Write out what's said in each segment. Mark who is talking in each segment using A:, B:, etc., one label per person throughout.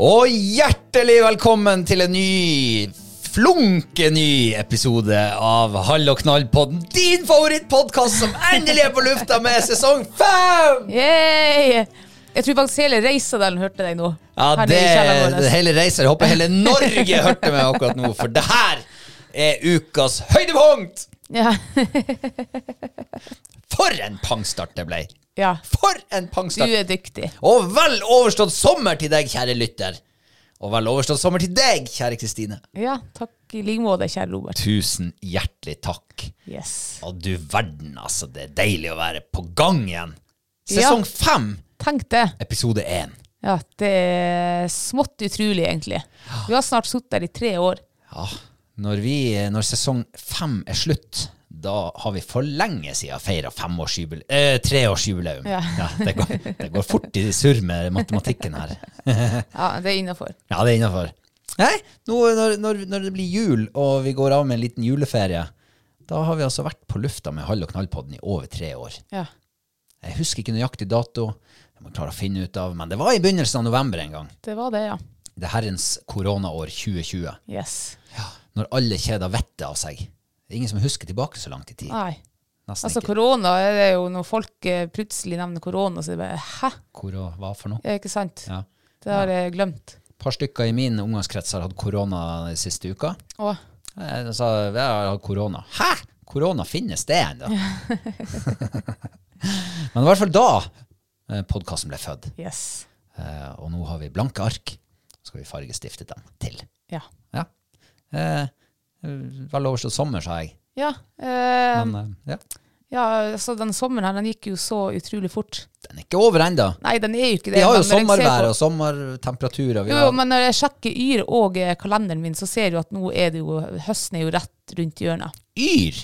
A: Og hjertelig velkommen til en ny flunkeny episode av Hall og knall-podden. Din favorittpodkast som endelig er på lufta med sesong fem!
B: Yay! Jeg tror faktisk hele Reisadalen hørte deg nå.
A: Ja,
B: Her
A: det,
B: nede i kjelleren vår. altså.
A: det hele reiser. Jeg håper hele Norge hørte meg akkurat nå, for det her er ukas høydepunkt!
B: ja.
A: For en pangstart det ble!
B: ja.
A: For en
B: Du
A: pangstart!
B: er dyktig.
A: Og vel overstått sommer til deg, kjære lytter. Og vel overstått sommer til deg, kjære Kristine.
B: Ja, takk i like måte, kjære Robert.
A: Tusen hjertelig takk.
B: Yes.
A: Å, du verden, altså. Det er deilig å være på gang igjen. Sesong fem,
B: Tenk det.
A: episode én.
B: Ja, det er smått utrolig, egentlig. Vi har snart sittet der i tre år.
A: Ja, når, vi, når sesong fem er slutt, da har vi for lenge siden feira femårsjubile- eh, treårsjubileum.
B: Ja.
A: det, går, det går fort i surr med matematikken her.
B: Ja, det er innafor.
A: Ja, det er innafor. Nei, nå, når, når, når det blir jul, og vi går av med en liten juleferie, da har vi altså vært på lufta med Hall og Knallpodden i over tre år.
B: Ja.
A: Jeg husker ikke nøyaktig dato, jeg må klare å finne ut av, men det var i begynnelsen av november en gang.
B: Det var det, ja.
A: Det herrens koronaår 2020.
B: Yes.
A: Når alle kjeder vettet av seg. Det er ingen som husker tilbake så langt i tid.
B: Nei.
A: Nesten
B: Altså,
A: ikke.
B: korona er det jo når folk eh, plutselig nevner korona, så er det bare Hæ?
A: Koro- hva for noe?
B: Ja, ikke sant?
A: Ja.
B: Det har jeg glemt.
A: Et par stykker i min omgangskrets har hatt korona den siste uka.
B: Å,
A: Jeg sa, jeg har hatt korona. Hæ? Korona finnes det ennå? Men i hvert fall da podkasten ble født.
B: yes.
A: Eh, Og nå har vi blanke ark. Så skal vi fargestifte dem til.
B: Ja.
A: Ja. Eh, Vel overstått sommer, sa jeg.
B: Ja, eh,
A: Men eh, ja.
B: ja, altså den sommeren her, den gikk jo så utrolig fort.
A: den er ikke over ennå.
B: Nei, den er jo ikke det.
A: Vi har jo
B: men når jeg ser
A: sommervær
B: på-
A: og sommertemperaturer. Vi
B: Jo,
A: har,
B: jo, men når jeg sjekker Yr og eh, kalenderen min, så ser du at nå er det jo Høsten er jo rett rundt hjørnet.
A: yr!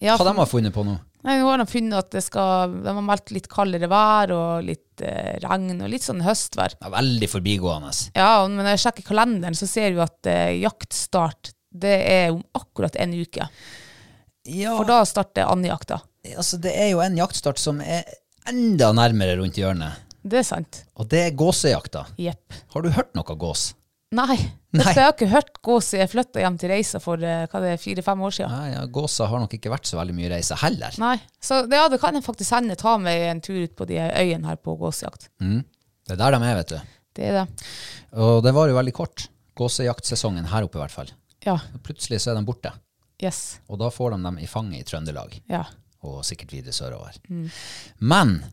B: Ja,
A: Hva de
B: for-
A: har funnet på nå?
B: nei, nå har de funnet at det skal De har meldt litt kaldere vær og litt eh, regn og litt sånn høstvær.
A: Det er veldig forbigående.
B: Ja, og når jeg sjekker kalenderen, så ser du at eh, jaktstart det er om akkurat en uke.
A: Ja,
B: For da starter andjakta.
A: altså Det er jo en jaktstart som er enda nærmere rundt hjørnet,
B: Det er sant.
A: og det er gåsejakta.
B: Jepp.
A: Har du hørt noe gås?
B: Nei.
A: Nei.
B: Jeg har ikke hørt gå siden jeg flytta hjem til Reisa for eh, hva det er, fire-fem år siden.
A: Nei, ja, Gåsa har nok ikke vært så veldig mye reise heller.
B: Nei. Så det, ja, det kan jeg faktisk hende ta meg en tur ut på de øyene her på gåsejakt.
A: Mm. Det er der de er, vet du.
B: Det er det.
A: Og det var jo veldig kort. Gåsejaktsesongen her oppe, i hvert fall.
B: Ja.
A: Plutselig så er de borte,
B: Yes.
A: og da får de dem i fanget i Trøndelag.
B: Ja.
A: og sikkert videre sørover. Men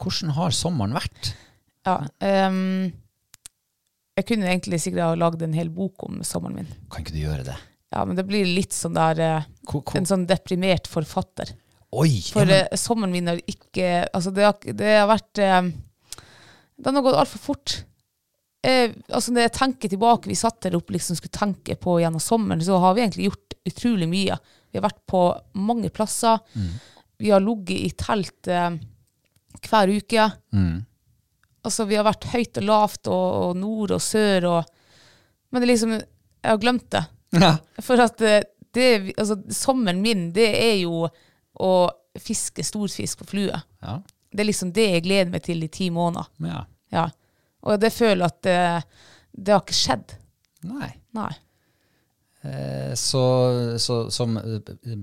A: hvordan har sommeren vært?
B: ja. ehm, Jeg kunne egentlig sikkert ha lagd en hel bok om sommeren min.
A: Kan ikke du gjøre det?
B: Ja, men det blir litt sånn der eh,
A: Ko- ko-
B: En sånn deprimert forfatter.
A: Oi!
B: For
A: ja, men,
B: eh, sommeren min har ikke Altså, det har, det har vært eh, Den har gått altfor fort. Eh, altså, når jeg tenker tilbake Vi satt der oppe liksom skulle tenke på gjennom sommeren, så har vi egentlig gjort utrolig mye. Vi har vært på mange plasser.
A: Mm.
B: Vi har ligget i telt eh, hver uke.
A: Mm.
B: Altså, vi har vært høyt og lavt, og, og nord og sør og Men det er liksom Jeg har glemt det.
A: ja.
B: For at eh, det, altså, sommeren min, det er jo å fiske storfisk på flue.
A: Ja.
B: Det er liksom det jeg gleder meg til i ti måneder.
A: men ja.
B: Ja. Og det føler jeg at eh, det har ikke skjedd.
A: Nei.
B: Nei.
A: Eh, Så, så som eh, eh,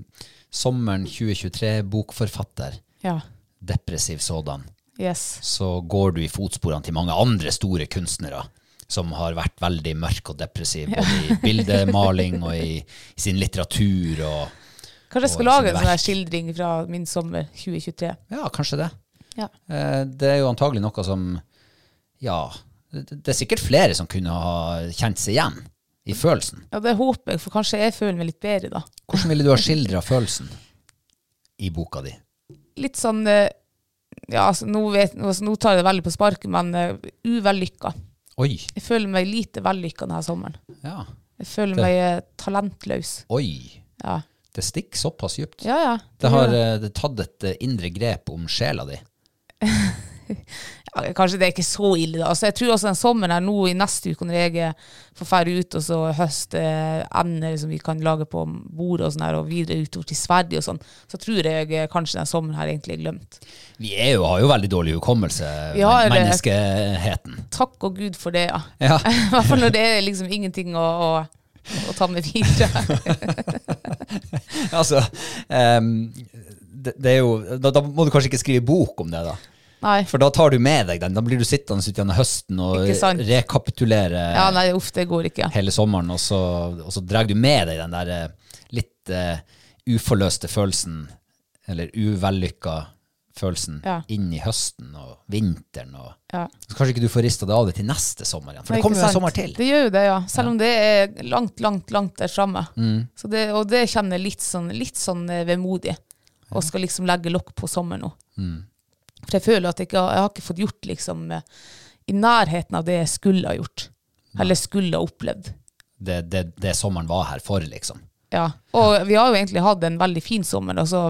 A: sommeren 2023, bokforfatter,
B: Ja.
A: depressiv sådan,
B: Yes.
A: så går du i fotsporene til mange andre store kunstnere som har vært veldig mørk og depressiv, både i bildemaling og i, i sin litteratur. Og,
B: Kanskje jeg skal
A: Og
B: lage en
A: verk.
B: sånn her skildring fra min sommer 2023.
A: ja, kanskje det.
B: Ja.
A: Eh, Det er jo antagelig noe som Ja, det det er sikkert flere som kunne ha kjent seg igjen i følelsen.
B: ja, det håper jeg, for kanskje jeg føler meg litt bedre da.
A: Hvordan ville du ha skildra følelsen i boka di?
B: Litt sånn eh, Ja, altså, nå, vet, altså, nå tar jeg det veldig på sparket, men uh, uvellykka.
A: Oi.
B: Jeg føler meg lite vellykka denne sommeren.
A: Ja.
B: Jeg føler
A: Det-
B: meg eh, talentløs.
A: Oi.
B: Ja,
A: Det stikker såpass dypt.
B: ja. ja.
A: Det har eh, det tatt et eh, indre grep om sjela di.
B: ja, kanskje det er ikke så ille, da. Altså, jeg tror også den sommeren her nå i neste uke, når jeg er- får ferdig ut, og så høste eh, ender som vi kan lage på bordet og sånn her, og videre utover til Sverige og sånn, så tror jeg eh, kanskje den sommeren her egentlig er glemt.
A: Vi er jo, har jo veldig dårlig hukommelse,
B: Vi har, eh,
A: menneskeheten.
B: Takk og Gud for det, ja.
A: Ja.
B: I hvert fall når det er liksom ingenting å, å, å ta med videre.
A: altså, ehm, det, det er jo, da, da må du kanskje ikke skrive bok om det, da.
B: Nei.
A: For da tar du med deg den. Da blir du sittende ute gjennom høsten og
B: Ikke sant.
A: rekapitulere
B: Ja, nei, uff, det går ikke.
A: hele sommeren, og så, og så drar du med deg den der eh, litt eh, uforløste følelsen, eller uvellykka følelsen,
B: Ja.
A: inn i høsten og vinteren. Og,
B: Ja.
A: så kanskje ikke du får rista det av deg til neste sommer igjen, for
B: Nei,
A: det kommer jo
B: ikke
A: en
B: sant.
A: sommer til.
B: Det gjør jo det, ja. Selv om det er langt, langt, langt der framme.
A: Mm.
B: Og det kjenner jeg litt sånn, litt sånn eh, vemodig, og skal liksom legge lokk på sommeren nå.
A: Mm.
B: For jeg føler at jeg, ikke, har- jeg har ikke fått gjort liksom eh, i nærheten av det jeg skulle ha gjort. Eller skulle ha opplevd.
A: Det, det, det sommeren var her for, liksom.
B: Ja. Og vi har jo egentlig hatt en veldig fin sommer. Altså,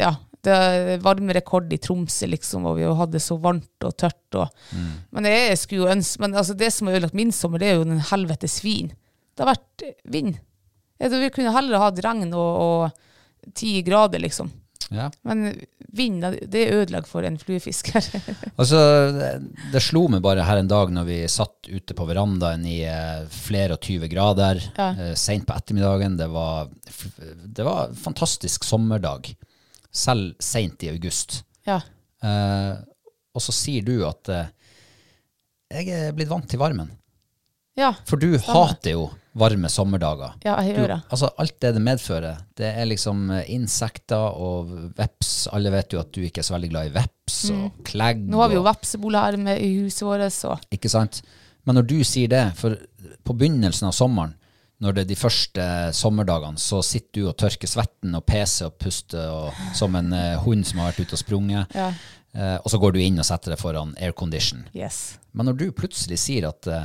B: ja, det er varmerekord i Tromsø, liksom, og vi har hatt det så varmt og tørt. Og, Men jeg skulle jo ønske Men altså, det som har ødelagt min sommer, det er jo den helvetes svin. Det har vært eh, vind. Jeg tror vi kunne heller hatt regn og ti grader, liksom.
A: Ja.
B: Men vind, det er ødelegg for en fluefisker.
A: Altså, det- det slo meg bare her en dag når vi satt ute på verandaen i eh, flere og 20 grader,
B: Ja.
A: eh, sent på ettermiddagen. Det var, f- det var en fantastisk sommerdag, selv sent i august.
B: ja.
A: Eh, og så sier du at eh, jeg er blitt vant til varmen.
B: Ja.
A: For du hater jo varme sommerdager.
B: ja, jeg
A: Du,
B: gjør det.
A: altså alt det det medfører, det er liksom eh, insekter og veps. Alle vet jo at du ikke er så veldig glad i veps og klegg.
B: Mm. Nå har vi jo
A: og-
B: vepsebol her med, i huset vårt, så
A: ikke sant? Men når du sier det, for på begynnelsen av sommeren, når det er de første sommerdagene, så sitter du og tørker svetten og peser og puster og, som en eh, hund som har vært ute og sprunget.
B: Ja.
A: Eh, og så går du inn og setter deg foran aircondition.
B: yes.
A: Men når du plutselig sier at eh,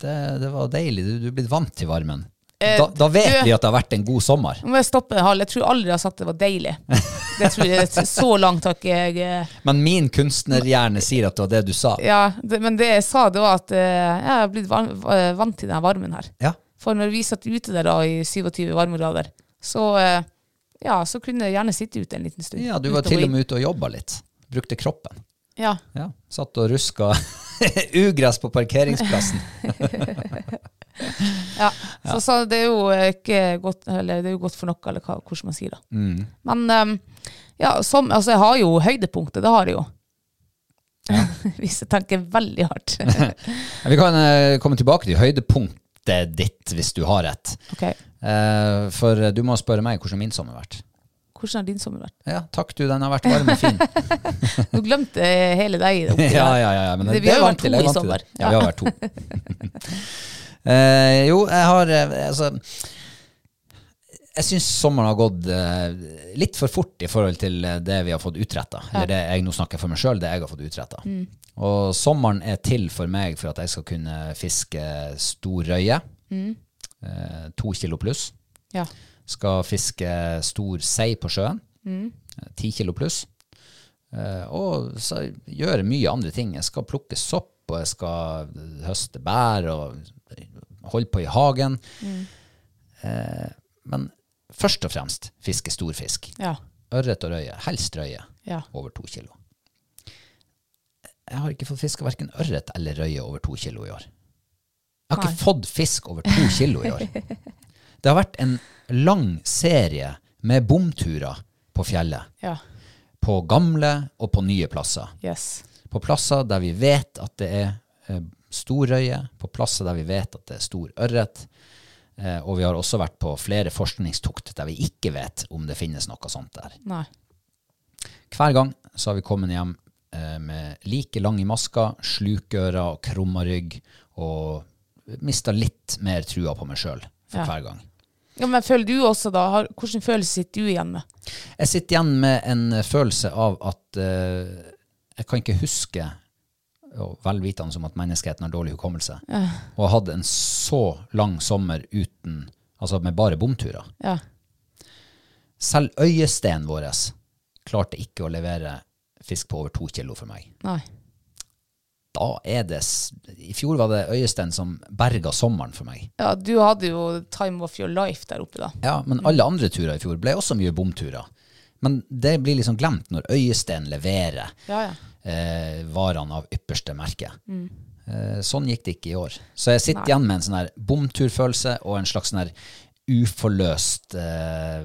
A: det, det var deilig, du, du er blitt vant til varmen, da, da vet
B: Eh, du-
A: vi at det har vært en god sommer.
B: Nå må jeg stoppe en halv. Jeg tror aldri jeg har sagt det var deilig. Det tror jeg, så langt har ikke jeg eh,
A: Men min kunstnerhjerne sier at det var det du sa.
B: ja, det, Men det jeg sa, det var at eh, jeg har blitt van, eh, vant til denne varmen her.
A: Ja.
B: For når vi satt ute der da i 27 varmegrader, så, eh, ja, så kunne jeg gjerne sitte ute en liten stund.
A: ja, du var
B: Ute
A: til og
B: gå
A: med ute og jobba litt. Brukte kroppen.
B: inn. Ja.
A: Ja, satt og ruska ugress på parkeringsplassen.
B: ja. Så, så det er jo eh, ikke godt, eller det er jo godt for noe, eller hva, hvordan man sier det.
A: Mm.
B: Men eh, ja, som, altså, jeg har jo høydepunktet, det har jeg jo. Hvis jeg tenker veldig hardt.
A: Vi kan eh, komme tilbake til høydepunktet ditt, hvis du har et.
B: Ok,
A: Eh, for du må spørre meg hvordan min sommer har vært.
B: Hvordan har din sommer vært?
A: Ja, takk du, den har vært varm og fin.
B: Du glemte eh, hele deg i det.
A: ja,
B: oppi
A: ja,
B: der.
A: ja, ja, men
B: Det-
A: det,
B: vi har
A: er
B: jo
A: vant
B: vært
A: til,
B: to
A: jeg er
B: i
A: vant til
B: sommer.
A: det. Ja, vi har vært to. Eh, jo, jeg har eh, altså, Jeg syns sommeren har gått eh, litt for fort i forhold til eh, det vi har fått utretta. Eller det jeg nå snakker for meg sjøl, det jeg har fått utretta.
B: Mm.
A: Og sommeren er til for meg for at jeg skal kunne fiske stor røye. Eh, to kilo pluss.
B: Mm. Ja.
A: Skal fiske stor sei på sjøen.
B: Mm.
A: Ti kilo pluss. Eh, og så gjøre mye andre ting. Jeg skal plukke sopp, og jeg skal høste bær, og holde på i hagen. Eh, men først og fremst fiske stor fisk.
B: Ja.
A: Ørret og røye. Helst røye.
B: Ja.
A: Over to kilo. Jeg har ikke fått fiska verken ørret eller røye over to kilo i år. Jeg har ikke fått fisk over to kilo i år. Det har vært en lang serie med bomturer på fjellet
B: ja.
A: på gamle og på nye plasser.
B: Yes.
A: På plasser der vi vet at det er eh, stor røye, på plasser der vi vet at det er stor ørret. Eh, og vi har også vært på flere forskningstukt der vi ikke vet om det finnes noe sånt der.
B: Nei.
A: Hver gang så har vi kommet hjem eh, med like lange masker, slukører og krumma rygg, og mista litt mer trua på meg sjøl for
B: Ja.
A: hver gang.
B: Ja, men føler du også da, har, Hvordan følelse sitter du igjen med?
A: Jeg sitter igjen med en eh, følelse av at eh, jeg kan ikke huske, og velvitende som at menneskeheten har dårlig hukommelse, og har hatt en så lang sommer uten, altså med bare bomturer.
B: Ja.
A: Selv øyesteinen vår klarte ikke å levere fisk på over to kilo for meg.
B: Nei.
A: Da er det, s- I fjor var det øyestein som berga sommeren for meg.
B: Ja, du hadde jo time of your life der oppe, da.
A: Ja, men alle andre turer i fjor ble også mye bomturer. Men det blir liksom glemt når øyestein leverer.
B: Ja, ja.
A: eh, varene av ypperste merke.
B: Mm.
A: Eh, sånn gikk det ikke i år. Så jeg sitter igjen med en sånn her bomturfølelse og en slags sånn her uforløst eh,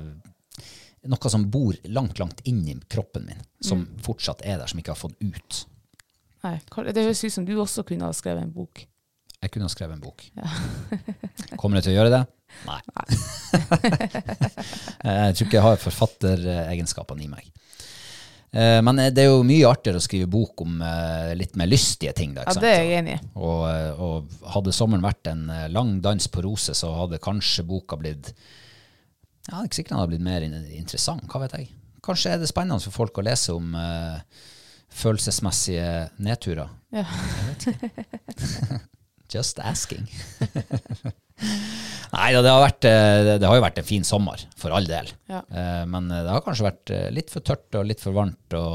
A: Noe som bor langt, langt inni kroppen min, som
B: Mm.
A: fortsatt er der, som ikke har fått ut.
B: Nei, Karl, Det høres ut som du også kunne ha skrevet en bok.
A: Jeg kunne ha skrevet en bok. Kommer jeg til å gjøre det? Nei. jeg tror ikke jeg har forfatteregenskapene i meg. Eh, Men det er jo mye artigere å skrive bok om eh, litt mer lystige ting. Da, ikke
B: Ja,
A: sant?
B: Det er jeg enig i.
A: Og, eh, og hadde sommeren vært en eh, lang dans på roser, så hadde kanskje boka blitt Ja, det er ikke sikkert den hadde blitt mer in- interessant, hva vet jeg. Kanskje er det spennende for folk å lese om eh, følelsesmessige nedturer.
B: Ja.
A: Just asking. Nei da, det har, vært, eh, det- det har jo vært en fin sommer, for all del.
B: Ja.
A: Eh, Men eh, det har kanskje vært eh, litt for tørt og litt for varmt. Og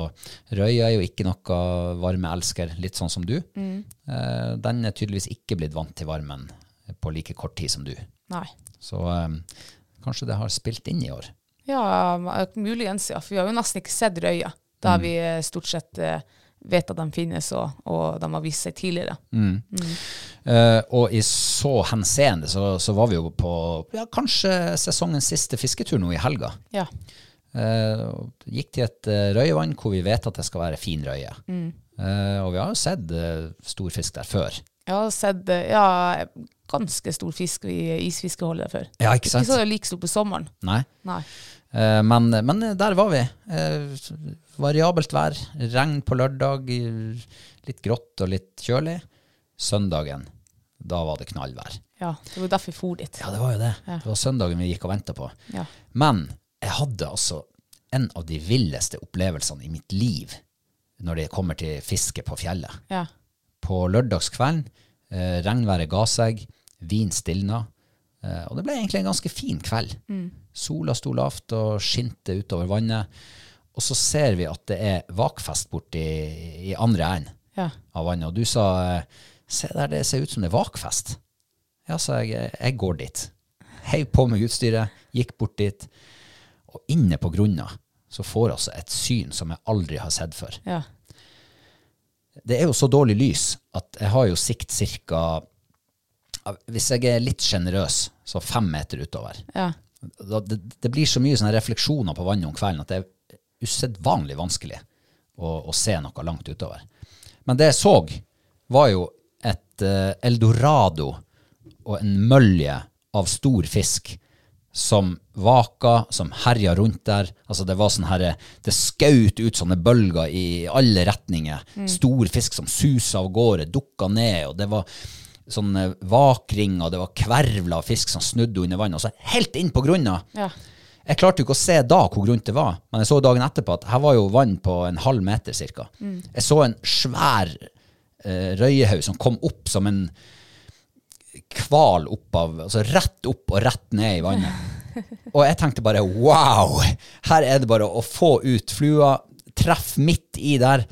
A: røya er jo ikke noe varmeelsker, litt sånn som du. Eh, Den er tydeligvis ikke blitt vant til varmen på like kort tid som du.
B: Nei.
A: Så eh, kanskje det har spilt inn i år.
B: Ja, ma- muligens, ja. For vi har jo nesten ikke sett røya. Da
A: Mm.
B: har vi eh, stort sett eh, vet at de finnes, og, og de har vist seg tidligere.
A: Mm. Eh, og i så henseende så, så var vi jo på ja, kanskje sesongens siste fisketur nå i helga.
B: Ja.
A: Eh, og gikk til et eh, røyevann hvor vi vet at det skal være fin røye. Eh, og vi har jo sett eh, stor fisk der før.
B: Jeg har sett eh, ja, ganske stor fisk i isfiskeholdet før.
A: Ja, ikke
B: Ikke så like stor på sommeren.
A: Nei.
B: Nei.
A: Eh, men, men der var vi. Eh, variabelt vær. Regn på lørdag, i- litt grått og litt kjølig. Søndagen, da var det knallvær.
B: Ja, det var derfor jeg for dit.
A: Ja, det var jo det. Det var søndagen vi gikk og venta på.
B: Ja.
A: Men jeg hadde altså en av de villeste opplevelsene i mitt liv når det kommer til fiske på fjellet.
B: Ja.
A: på lørdagskvelden. Eh, regnværet ga seg, vin stilna. Eh, og det ble egentlig en ganske fin kveld. Sola sto lavt og skinte utover vannet. Og så ser vi at det er vakfest borti i andre enden
B: Ja.
A: av vannet. Og du sa eh, se der, det ser ut som det er vakfest. Ja, sa jeg, eh, jeg går dit. Heiv på meg utstyret, gikk bort dit. Og inne på grunna så får jeg altså et syn som jeg aldri har sett før
B: ja.
A: det er jo så dårlig lys at jeg har jo sikt cirka Hvis jeg er litt sjenerøs, så fem meter utover.
B: ja.
A: Da- Det, det blir så mye sånne refleksjoner på vannet om kvelden at det er usedvanlig vanskelig å, å se noe langt utover. Men det jeg så, var jo et eh, eldorado og en mølje av stor fisk som vaka, som herja rundt der. Altså Det var sånn herre Det skaut ut sånne bølger i alle retninger. Stor fisk som susa av gårde, dukka ned, og det var sånne vakringer, eh, det var kvervla av fisk som snudde under vann, og så helt inn på grunna.
B: Ja.
A: Jeg klarte jo ikke å se da hvor grunt det var, men jeg så dagen etterpå at her var jo vann på en halv meter cirka. Jeg så en svær eh, røyehaug som kom opp som en kval opp av, altså rett opp og rett ned i vannet. Og jeg tenkte bare wow, her er det bare å få ut flua, treff midt i der,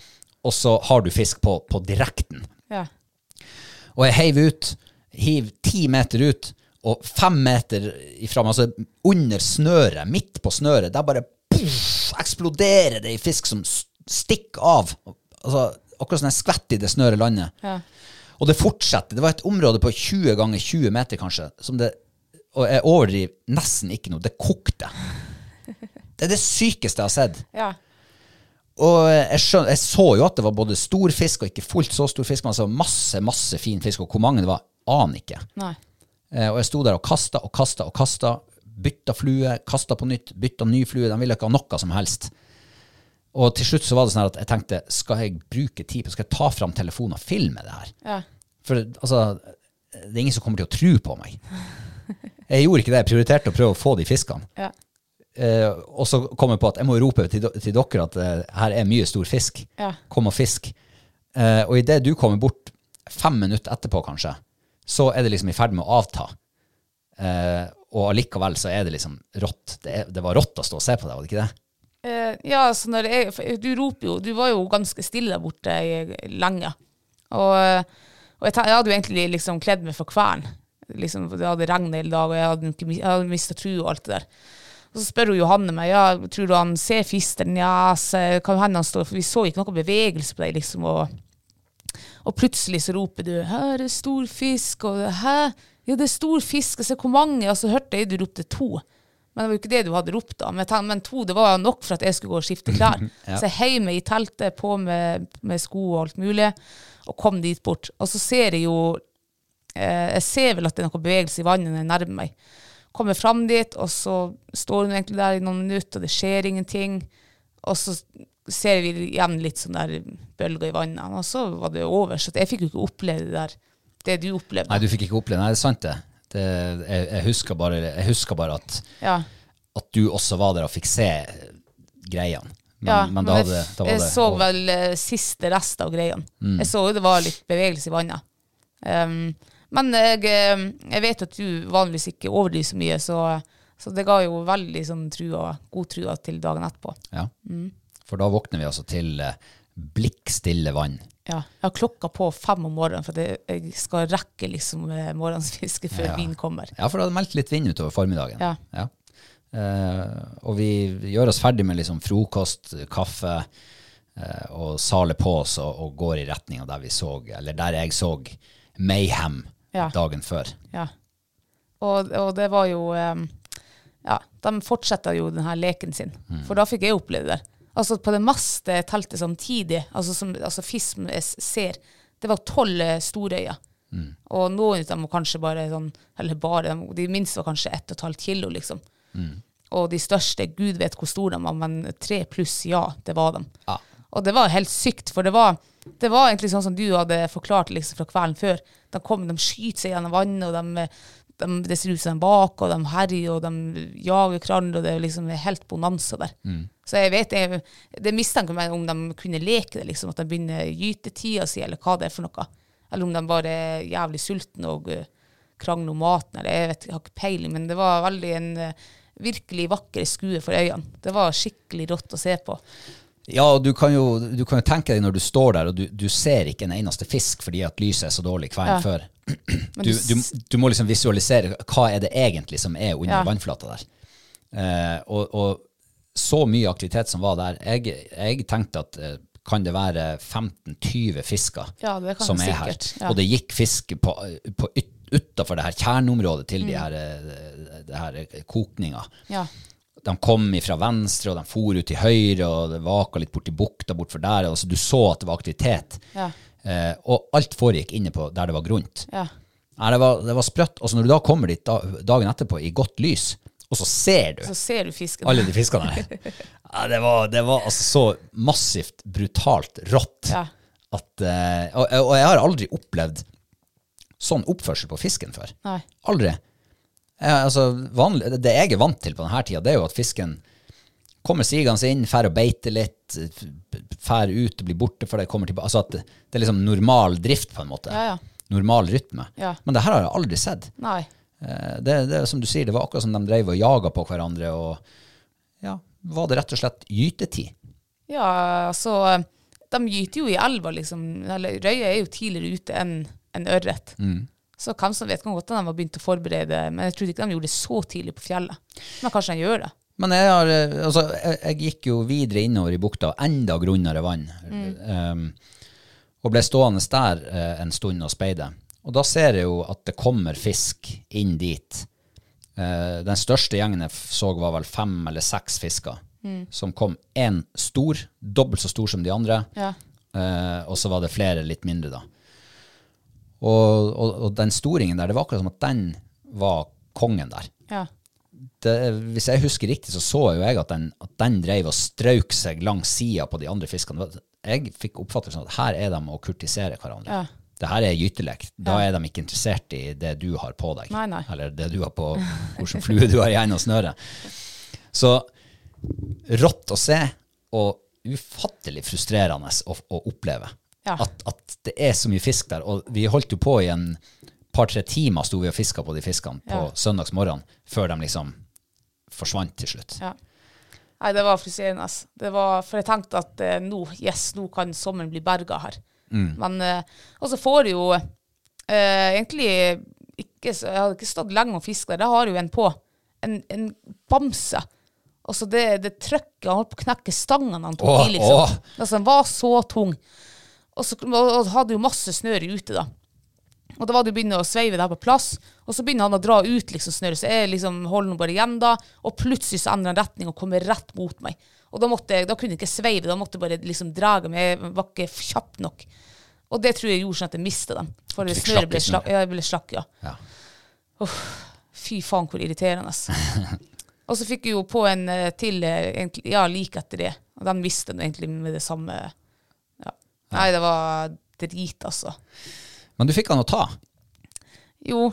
A: og så har du fisk på, på direkten.
B: Ja.
A: Og jeg heiv ut, hiv ti meter ut, og fem meter ifra meg, altså under snøret, midt på snøret, der bare puff, eksploderer det i fisk som s- stikker av. Altså, akkurat sånn en skvett i det snøret landet.
B: Ja.
A: Og det fortsetter. Det var et område på 20 ganger 20 meter, kanskje, som det, og jeg overdriver nesten ikke noe, det kokte. Det er det sykeste jeg har sett.
B: Ja.
A: Og jeg, skjøn, jeg så jo at det var både stor fisk og ikke fullt så stor fisk, men altså masse, masse fin fisk, og hvor mange det var, aner ikke.
B: Nei.
A: Eh, og jeg sto der og kasta og kasta og kasta, bytta flue, kasta på nytt, bytta ny flue, de ville ikke ha noe som helst. Og til slutt så var det sånn her at jeg tenkte, skal jeg bruke tid på, skal jeg ta fram telefonen og filme det her?
B: Ja.
A: For altså, det er ingen som kommer til å tro på meg. Jeg gjorde ikke det, jeg prioriterte å prøve å få de fiskene.
B: Ja.
A: Eh, og så kom jeg på at jeg må jo rope til, til dere at eh, her er mye stor fisk.
B: Ja.
A: Kom og fisk. Eh, og idet du kommer bort fem minutter etterpå, kanskje, så er det liksom i ferd med å avta. Eh, og allikevel så er det liksom rått. Det, er, det var rått å stå og se på det, var det ikke det?
B: Eh, ja, så når jeg, for du roper jo Du var jo ganske stille der borte i- lenge. Og, og jeg, ten- jeg hadde jo egentlig liksom kledd meg for kvern. Liksom, for det hadde regnet hele dag, og jeg hadde, ikke mis- jeg hadde mista trua og alt det der. Og så spør hun Johanne meg ja, tror du han ser fisteren. Ja, se, kan jo hende han står For vi så ikke noe bevegelse på deg, liksom. Og, og plutselig så roper du 'her er stor fisk', og 'hæ'? Ja, det er stor fisk, og se hvor mange? Og så hørte jeg du ropte to. Men det var jo ikke det du hadde ropt, da. Men, jeg tenkte, men to det var nok for at jeg skulle gå og skifte klær. Så jeg heiv meg i teltet, på med, med sko og alt mulig, og kom dit bort. Og så ser jeg jo eh, Jeg ser vel at det er noe bevegelse i vannet når jeg nærmer meg. Kommer fram dit, og så står hun egentlig der i noen minutter, og det skjer ingenting. Og så ser vi igjen litt sånn der bølger i vannet, og så var det over. Så jeg fikk jo ikke oppleve det der, det du opplevde.
A: Nei, du fikk ikke oppleve Nei, det er sant, det. det jeg, jeg, husker bare, jeg husker bare at,
B: Ja.
A: at du også var der og fikk se eh, greiene. Men,
B: ja,
A: men da,
B: jeg-
A: hadde, da var
B: jeg
A: det
B: så
A: over. Mm.
B: vel eh, siste rest av greien. Jeg så jo det var litt bevegelse i vannet. Um, men jeg, eh, jeg vet at du vanligvis ikke overdriver så mye, så, så det ga jo veldig sånn trua, god trua til dagen etterpå.
A: Ja.
B: Mm.
A: For da våkner vi altså til eh, blikkstille vann.
B: Ja, jeg har klokka på fem om morgenen, for at jeg, jeg skal rekke liksom eh, morgensfisket før vin kommer.
A: Ja, for det hadde meldt litt vind utover formiddagen.
B: Ja.
A: Eh, og vi gjør oss ferdig med liksom frokost, kaffe eh, og saler på oss og, og går i retninga der vi så, eller der jeg så Mayhem
B: Ja.
A: dagen før.
B: Ja. Og, og det var jo ehm, Ja, de fortsetter jo den her leken sin.
A: Mm.
B: For da fikk jeg oppleve det. der. Altså på det meste teltet samtidig, altså som altså FISM s- ser, det var tolv eh, storøyer.
A: Mm.
B: Og noen av dem var kanskje bare sånn, eller bare, de- de minste var kanskje ett og et halvt kilo, liksom.
A: Mm.
B: Og de største, gud vet hvor store de var, men tre pluss, ja, det var dem.
A: Ja.
B: Og det var helt sykt, for det var, det var egentlig sånn som du hadde forklart liksom, fra kvelden før. De kom, de skyter seg gjennom vannet, og de, de, det ser ut som de baker, og de herjer, og de jager hverandre, og det er liksom helt bonanza der. Så jeg vet, jeg, det mistenker meg om de kunne leke det, liksom, at de begynner gytetida si, eller hva det er for noe. Eller om de bare er jævlig sultne og eh, krangler om maten, eller jeg, vet, jeg har ikke peiling, men det var veldig en eh, virkelig vakker skue for øynene. Det var skikkelig rått å se på.
A: Ja, og du kan, jo, du kan jo tenke deg når du står der, og du, du ser ikke en eneste fisk fordi at lyset er så dårlig kvelden
B: Ja.
A: før. Du, du, du må liksom visualisere hva er det egentlig som er under
B: Ja.
A: vannflata der. Eh, og, og så mye aktivitet som var der. Jeg, jeg tenkte at eh, kan det være 15-20 fisker
B: Ja, det kan
A: som
B: det
A: er her?
B: sikkert, ja.
A: Og det gikk fisk på, på yt, utafor det her kjerneområdet til
B: Mm.
A: de her, eh, det her kokninga.
B: Ja.
A: De kom fra venstre, og de for ut til høyre, og det vaka litt borti bukta bortfor der. og så Du så at det var aktivitet.
B: Ja.
A: Eh, og alt foregikk inne på der det var grunt.
B: Ja.
A: Nei, det var, det var sprøtt. Og så når du da kommer dit da, dagen etterpå i godt lys, og så ser du
B: Så ser du fisken.
A: alle de fiskene her. Ja, det, var, det var altså så massivt, brutalt rått
B: Ja.
A: at eh, og, og jeg har aldri opplevd sånn oppførsel på fisken før.
B: Nei.
A: Aldri. Jeg, altså, vanlig, det jeg er vant til på denne tida, det er jo at fisken kommer sigende inn, fær og beiter litt, fær ut og blir borte før de kommer tilbake. Altså at det, det er liksom normal drift, på en måte.
B: Ja, ja.
A: Normal rytme.
B: Ja.
A: Men det her har jeg aldri sett.
B: Nei.
A: Eh, Det, det er som du sier, det var akkurat som de drev og jaga på hverandre, og ja, var det rett og slett gytetid?
B: Ja, altså De gyter jo i elva, liksom. Eller røye er jo tidligere ute enn enn ørret.
A: Mm.
B: Så hvem som vet kan godt hende de har begynt å forberede, men jeg trodde ikke de gjorde det så tidlig på fjellet. Men kanskje de gjør det.
A: Men jeg, har, eh, altså, jeg, jeg gikk jo videre innover i bukta, enda grunnere vann, em, og ble stående der eh, en stund og speide. Og da ser jeg jo at det kommer fisk inn dit. Eh, den største gjengen jeg f- så var vel fem eller seks fisker, som kom en stor, dobbelt så stor som de andre,
B: Ja.
A: eh, og så var det flere litt mindre da. Og, og, og den storingen der, det var akkurat som at den var kongen der
B: Ja.
A: det, hvis jeg husker riktig, så så jo jeg at den, at den dreiv og strøk seg langs sida på de andre fiskene. Det var- Jeg fikk oppfattelsen at her er de å kurtisere hverandre.
B: Ja.
A: Det her er gytelek. Da er de ikke interessert i det du har på deg.
B: Nei, nei.
A: Eller det du har på, hvilken flue du har i enden og snøret. Så rått å se, og ufattelig frustrerende å, å oppleve.
B: Ja.
A: At, at det er så mye fisk der. Og vi holdt jo på i en par-tre timer sto vi og fiska på de fiskene på
B: Ja.
A: søndags morgen, før de liksom forsvant til slutt.
B: ja. Nei, det var frustrerende. ass. Det var, for jeg tenkte at eh, nå, yes, nå kan sommeren bli berga her.
A: Mm.
B: Men eh, Og så får du jo eh, egentlig ikke så, Jeg hadde ikke stått lenge og fiska. Da har du jo en på. En, en bamse. Og så det, det trykket Han holdt på å knekke stangene han tok
A: Åh,
B: i, liksom.
A: åh.
B: Altså, den var så tung. Og så og, og hadde jo masse snøre ute, da. Og da var det jo begynner å sveive det her på plass, og så begynner han å dra ut liksom snøret, så jeg liksom holder nå bare igjen da, og plutselig så endrer han retning og kommer rett mot meg. Og da, måtte jeg, da kunne jeg ikke sveive, da måtte jeg bare liksom dra meg, jeg var ikke kjapp nok. Og det tror jeg gjorde sånn at jeg mistet dem, for
A: Du fikk slakk i
B: snøret ble slakk,
A: snøret.
B: ja, jeg ble slakk, ja.
A: Ja.
B: Fy faen, hvor irriterende. ass. og så fikk jeg jo på en eh, til, eh, egentlig, ja, like etter det, og den mistet jeg egentlig med det samme. Ja. Nei, det var drit, altså.
A: Men du fikk han å ta.
B: Jo,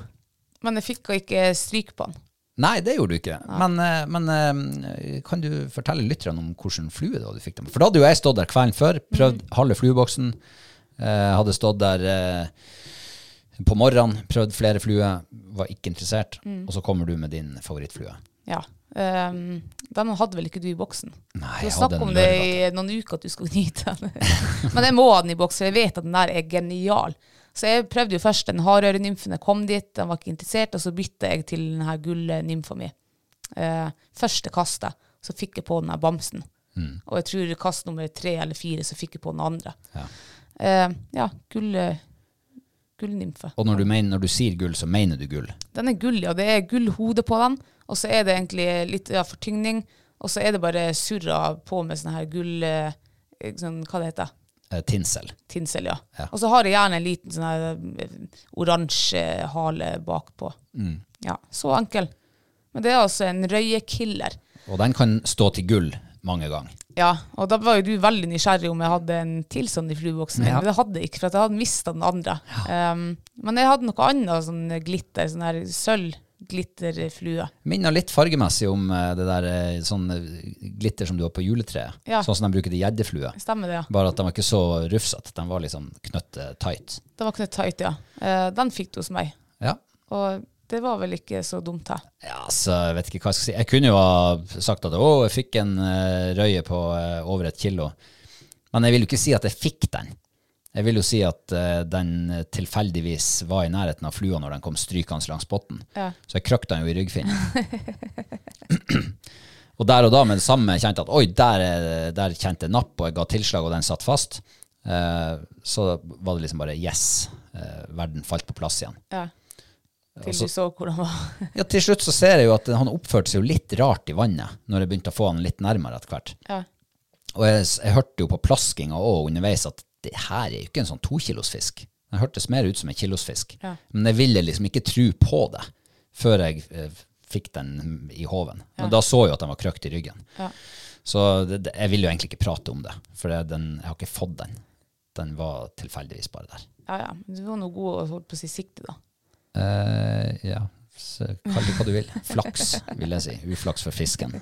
B: men jeg fikk jo ikke stryk på den.
A: Nei, det gjorde du ikke. Men, eh, men eh, kan du fortelle lytterne om hvilken flue da du fikk dem? For da hadde jo jeg stått der kvelden før, prøvd
B: Mm.
A: halve flueboksen, eh, hadde stått der eh, på morgenen, prøvd flere fluer, var ikke interessert,
B: Mm.
A: og så kommer du med din favorittflue.
B: Ja. ehm, den hadde vel ikke du i boksen?
A: Nei,
B: Du
A: jeg
B: har
A: hadde
B: snakket om
A: en
B: det
A: lørdag.
B: i noen uker at du skulle nyte den. Men jeg må ha den i boks, for jeg vet at den der er genial. Så jeg prøvde jo først den hardørenymfen. Jeg kom dit, den var ikke interessert, og så bytta jeg til den her gullnymfa mi. Eh, første kastet, så fikk jeg på den her bamsen.
A: Mm.
B: Og jeg tror i kast nummer tre eller fire, så fikk jeg på den andre.
A: Ja.
B: Eh, ja gull, gullnymfe.
A: Og når du, mener, når du sier gull, så mener du gull.
B: Den er gull, ja. Det er gullhode på den, og så er det egentlig litt ja, fortygning, og så er det bare surra på med sånn her gull... eh, Sånn, hva det heter
A: Eh, tinsel.
B: Tinsel, ja.
A: Ja.
B: Og så har jeg gjerne en liten sånn her eh, oransje hale bakpå.
A: Mm.
B: Ja, så enkel. Men det er altså en røyekiller.
A: Og den kan stå til gull mange ganger.
B: Ja, og da var jo du veldig nysgjerrig om jeg hadde en til sånn i flueboksen min,
A: Ja.
B: men det hadde jeg ikke, for at jeg hadde mista den andre. Um, men jeg hadde noe annet sånn glitter, sånn her sølvglitterflue.
A: Minner litt fargemessig om eh, det der eh, sånn eh, glitter som du har på juletreet.
B: Ja.
A: Sånn som de bruker til gjeddeflue.
B: Stemmer det, ja.
A: Bare at de var ikke så rufsete. De var liksom knøtte tight.
B: Det var Knut Tøyt, ja. Eh, den fikk du hos meg.
A: Ja.
B: Og det var vel ikke så dumt, her.
A: ja, så jeg vet ikke hva jeg skal si. Jeg kunne jo ha sagt at å, jeg fikk en eh, røye på eh, over et kilo. Men jeg vil jo ikke si at jeg fikk den. Jeg vil jo si at eh, den tilfeldigvis var i nærheten av flua når den kom strykende langs botten.
B: Ja.
A: Så jeg krøkte den jo i ryggfinnen. og der og da med det samme kjente jeg at oi, der, er- der kjente jeg napp, og jeg ga tilslag, og den satt fast. Eh, så var det liksom bare yes, eh, verden falt på plass igjen.
B: Ja. Til
A: Og så-
B: du så hvor han var.
A: Ja, til slutt så ser jeg jo at han oppførte seg jo litt rart i vannet, når jeg begynte å få han litt nærmere etter hvert.
B: ja.
A: Og jeg, s- jeg hørte jo på plaskinga òg underveis at det her er jo ikke en sånn tokilosfisk. Den hørtes mer ut som en kilosfisk.
B: Ja.
A: Men jeg ville liksom ikke tro på det før jeg eh, fikk den i hoven. Men da så jeg jo at den var krøkt i ryggen.
B: Ja.
A: Så det, det, jeg vil jo egentlig ikke prate om det, for det, den, jeg har ikke fått den. Den var tilfeldigvis bare der.
B: Ja, ja. Du var nå god og holdt på å si sikte, da.
A: Eh, ja, så kall det hva du vil. Flaks, vil jeg si. Uflaks for fisken.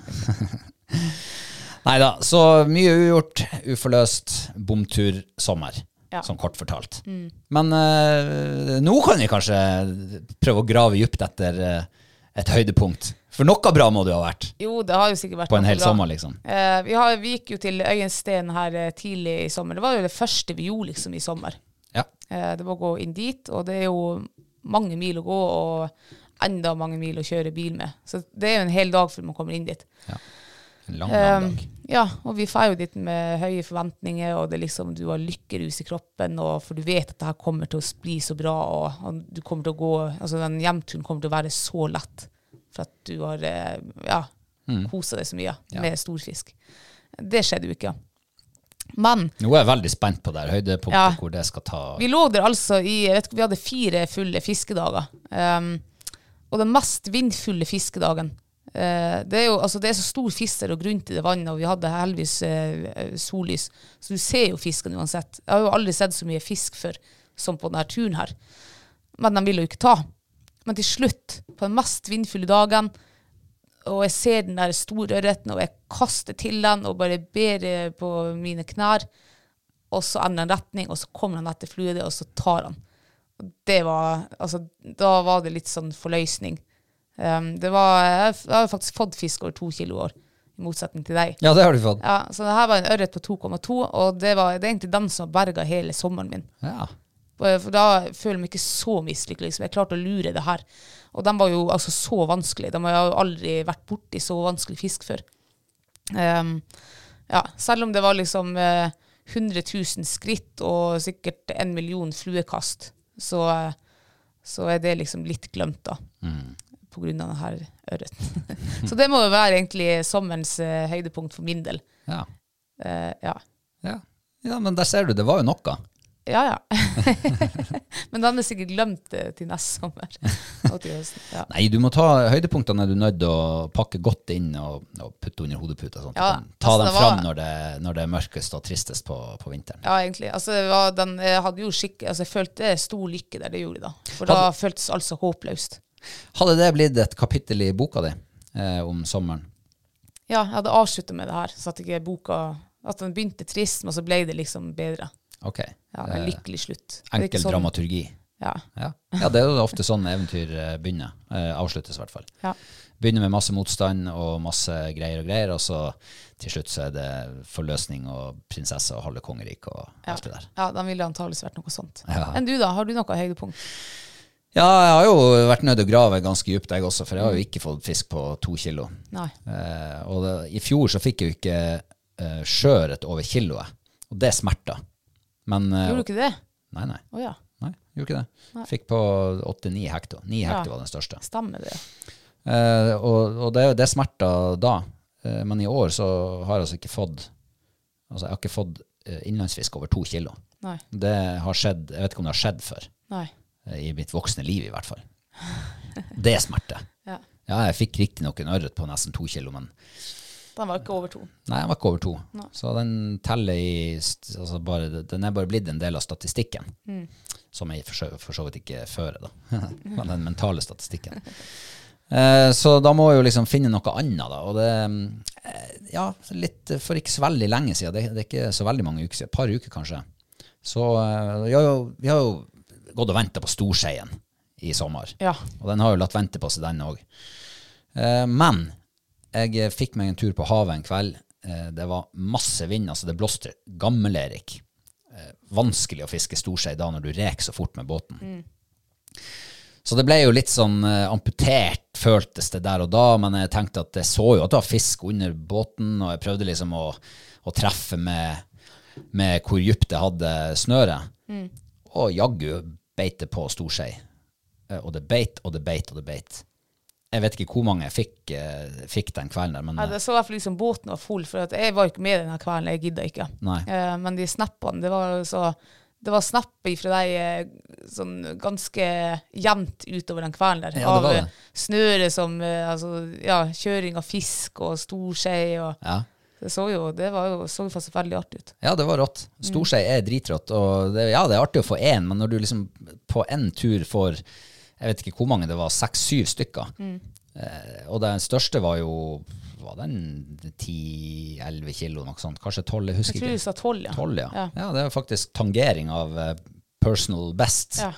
A: Nei da, så mye ugjort, uforløst, bomtur, sommer.
B: Ja. Mm.
A: Sånn kort fortalt. Men eh, nå kan vi kanskje prøve å grave dypt etter eh, et høydepunkt. For noe bra må det jo ha vært
B: Jo, det har jo sikkert vært
A: på en
B: noe
A: hel
B: bra.
A: sommer, liksom.
B: Eh, vi, har, vi gikk jo til Øyensten her eh, tidlig i sommer. Det var jo det første vi gjorde liksom i sommer.
A: Ja.
B: Eh, det var å gå inn dit, og det er jo mange mil å gå, og enda mange mil å kjøre bil med. Så det er jo en hel dag før man kommer inn dit.
A: En lang, lang
B: Eh,
A: dag.
B: ja, og vi drar jo dit med høye forventninger, og det er liksom, du har lykkerus i kroppen, og for du vet at det her kommer til å bli så bra, og, og du kommer til å gå, altså den hjemturen kommer til å være så lett, for at du har eh, ja,
A: Mm.
B: koset deg så mye med storfisk. Det skjedde jo ikke, ja. Men
A: Nå er jeg veldig spent på det her høydepunktet,
B: Ja.
A: hvor det skal ta
B: vi lå der altså i jeg vet, ikke, Vi hadde fire fulle fiskedager. Ehm, og den mest vindfulle fiskedagen eh, det, er jo, altså, det er så stor fisk der og grunt i det vannet, og vi hadde heldigvis eh, sollys, så du ser jo fisken uansett. Jeg har jo aldri sett så mye fisk før som på denne turen her. Men de vil jo ikke ta. Men til slutt, på den mest vindfulle dagen, og jeg ser den der store ørreten, og jeg kaster til den og bare ber eh, på mine knær. Og så endrer han retning, og så kommer han etter fluene, og så tar han. Og Det var, altså, da var det litt sånn forløsning. Um, det var, jeg f- jeg har faktisk fått fisk over to kilo i år, i motsetning til deg.
A: Ja, det har du fått.
B: Ja, så det her var en ørret på 2,2, og det, var, det er egentlig den som har berga hele sommeren min.
A: Ja.
B: Eh, For for da føler jeg meg ikke så mislykket. Liksom. Jeg klarte å lure det her. Og de var jo altså så vanskelig. De har jo aldri vært borti så vanskelig fisk før. Ehm, ja, selv om det var liksom eh, 100 000 skritt og sikkert en million fluekast, så, eh, så er det liksom litt glemt, da. På grunn av denne ørreten. så det må jo være egentlig sommerens eh, høydepunkt for min del.
A: Ja.
B: Eh, ja.
A: Ja. ja, men der ser du, det var jo noe.
B: Ja, ja. Men den er sikkert glemt eh, til neste sommer. Og til høsten. Ja.
A: Nei, du må ta høydepunktene er du nødt til å pakke godt inn og, og putte under hodeputa. Sånn. at du
B: Ja,
A: kan ta
B: altså,
A: dem
B: det var-
A: fram når det, når det er mørkest og tristest på, på vinteren.
B: ja, egentlig. Altså, det var, den, jeg, hadde jo skikk, altså, jeg følte stor lykke der, det gjorde jeg da. For da føltes alt så håpløst.
A: Hadde det blitt et kapittel i boka di eh, om sommeren?
B: Ja, jeg hadde avslutta med det her, så at ikke boka At den begynte trist, men så ble det liksom bedre.
A: Ok.
B: Ja,
A: Eh,
B: en lykkelig slutt. Det er ikke
A: enkel
B: sånn-
A: dramaturgi.
B: Ja.
A: Ja. ja, det er jo ofte sånn eventyr eh, begynner. Eh, avsluttes, i hvert fall.
B: ja.
A: Begynner med masse motstand og masse greier og greier, og så til slutt så er det forløsning og prinsesse og halve kongeriket og alt det der.
B: ja, den ville antakeligvis vært noe sånt.
A: Ja.
B: Enn du, da? Har du noe høydepunkt?
A: Ja, jeg har jo vært nødt til å grave ganske dypt, jeg også, for jeg har jo ikke fått fisk på to kilo.
B: Nei.
A: Eh, og det, i fjor så fikk jeg jo ikke eh, sjøørret over kiloet, og det smerta. Men eh,
B: Gjorde du ikke det?
A: Nei, nei.
B: Å ja.
A: nei gjorde ikke det. Fikk på åtte-ni hekto. Ni hekto var den største.
B: Stemmer det.
A: Eh, og og det, det smerta da, eh, men i år så har jeg altså ikke fått Altså, jeg har ikke fått eh, innlandsfisk over to kilo.
B: Nei.
A: Det har skjedd, jeg vet ikke om det har skjedd før.
B: Nei.
A: eh, I mitt voksne liv, i hvert fall. Det er smerte.
B: Ja.
A: Ja, jeg fikk riktignok en ørret på nesten to kilo, men
B: Den var ikke over to.
A: nei, den var ikke over to. Så den teller i st- altså bare, Den er bare blitt en del av statistikken, som jeg for så, for så vidt ikke fører, da. men den mentale statistikken. Eh, så da må jeg jo liksom finne noe annet, da. Og det eh, Ja, litt eh, for ikke så veldig lenge siden, det, det er ikke så veldig mange uker siden, et par uker kanskje, så eh, vi har jo, vi har jo gått og venta på storseien i sommer.
B: Ja.
A: Og den har jo latt vente på seg, den òg. Eh, men jeg eh, fikk meg en tur på havet en kveld. Eh, det var masse vind, altså det blåste gammel-Erik. Eh, vanskelig å fiske storsei da når du reker så fort med båten. Så det ble jo litt sånn eh, amputert, føltes det der og da, men jeg tenkte at jeg så jo at det var fisk under båten, og jeg prøvde liksom å, å treffe med, med hvor djupt jeg hadde snøret.
B: Mm.
A: Og jaggu beit det på storsei. Eh, Og det beit, og det beit, og det beit. Jeg vet ikke hvor mange jeg fikk, eh, fikk den kvelden der, men
B: Ja,
A: eh,
B: det så i hvert fall ut som båten var full, for at jeg var jo ikke med denne kvelden. Jeg gidda ikke.
A: Nei.
B: Eh, men de snappene, det var så Det var snap fra deg eh, sånn ganske jevnt utover den kvelden
A: Ja,
B: der.
A: det var
B: av
A: det.
B: eh, snøre som eh, altså, ja, kjøring av fisk og storskei og
A: eh, Ja.
B: Det så jo, det var jo, så jo faktisk veldig artig ut.
A: Ja, det var rått. Storskei er dritrått. Og det, ja, det er artig å få én, men når du liksom på én tur får jeg vet ikke hvor mange det var, seks-syv stykker.
B: Mm.
A: Eh, og den største var jo var den 10-11 kilo, noe sånt. Kanskje 12, jeg
B: Jeg
A: husker
B: tror du
A: ikke.
B: sa tolv, ja.
A: 12, ja.
B: Ja.
A: ja. det er faktisk tangering av eh, personal best.
B: Ja.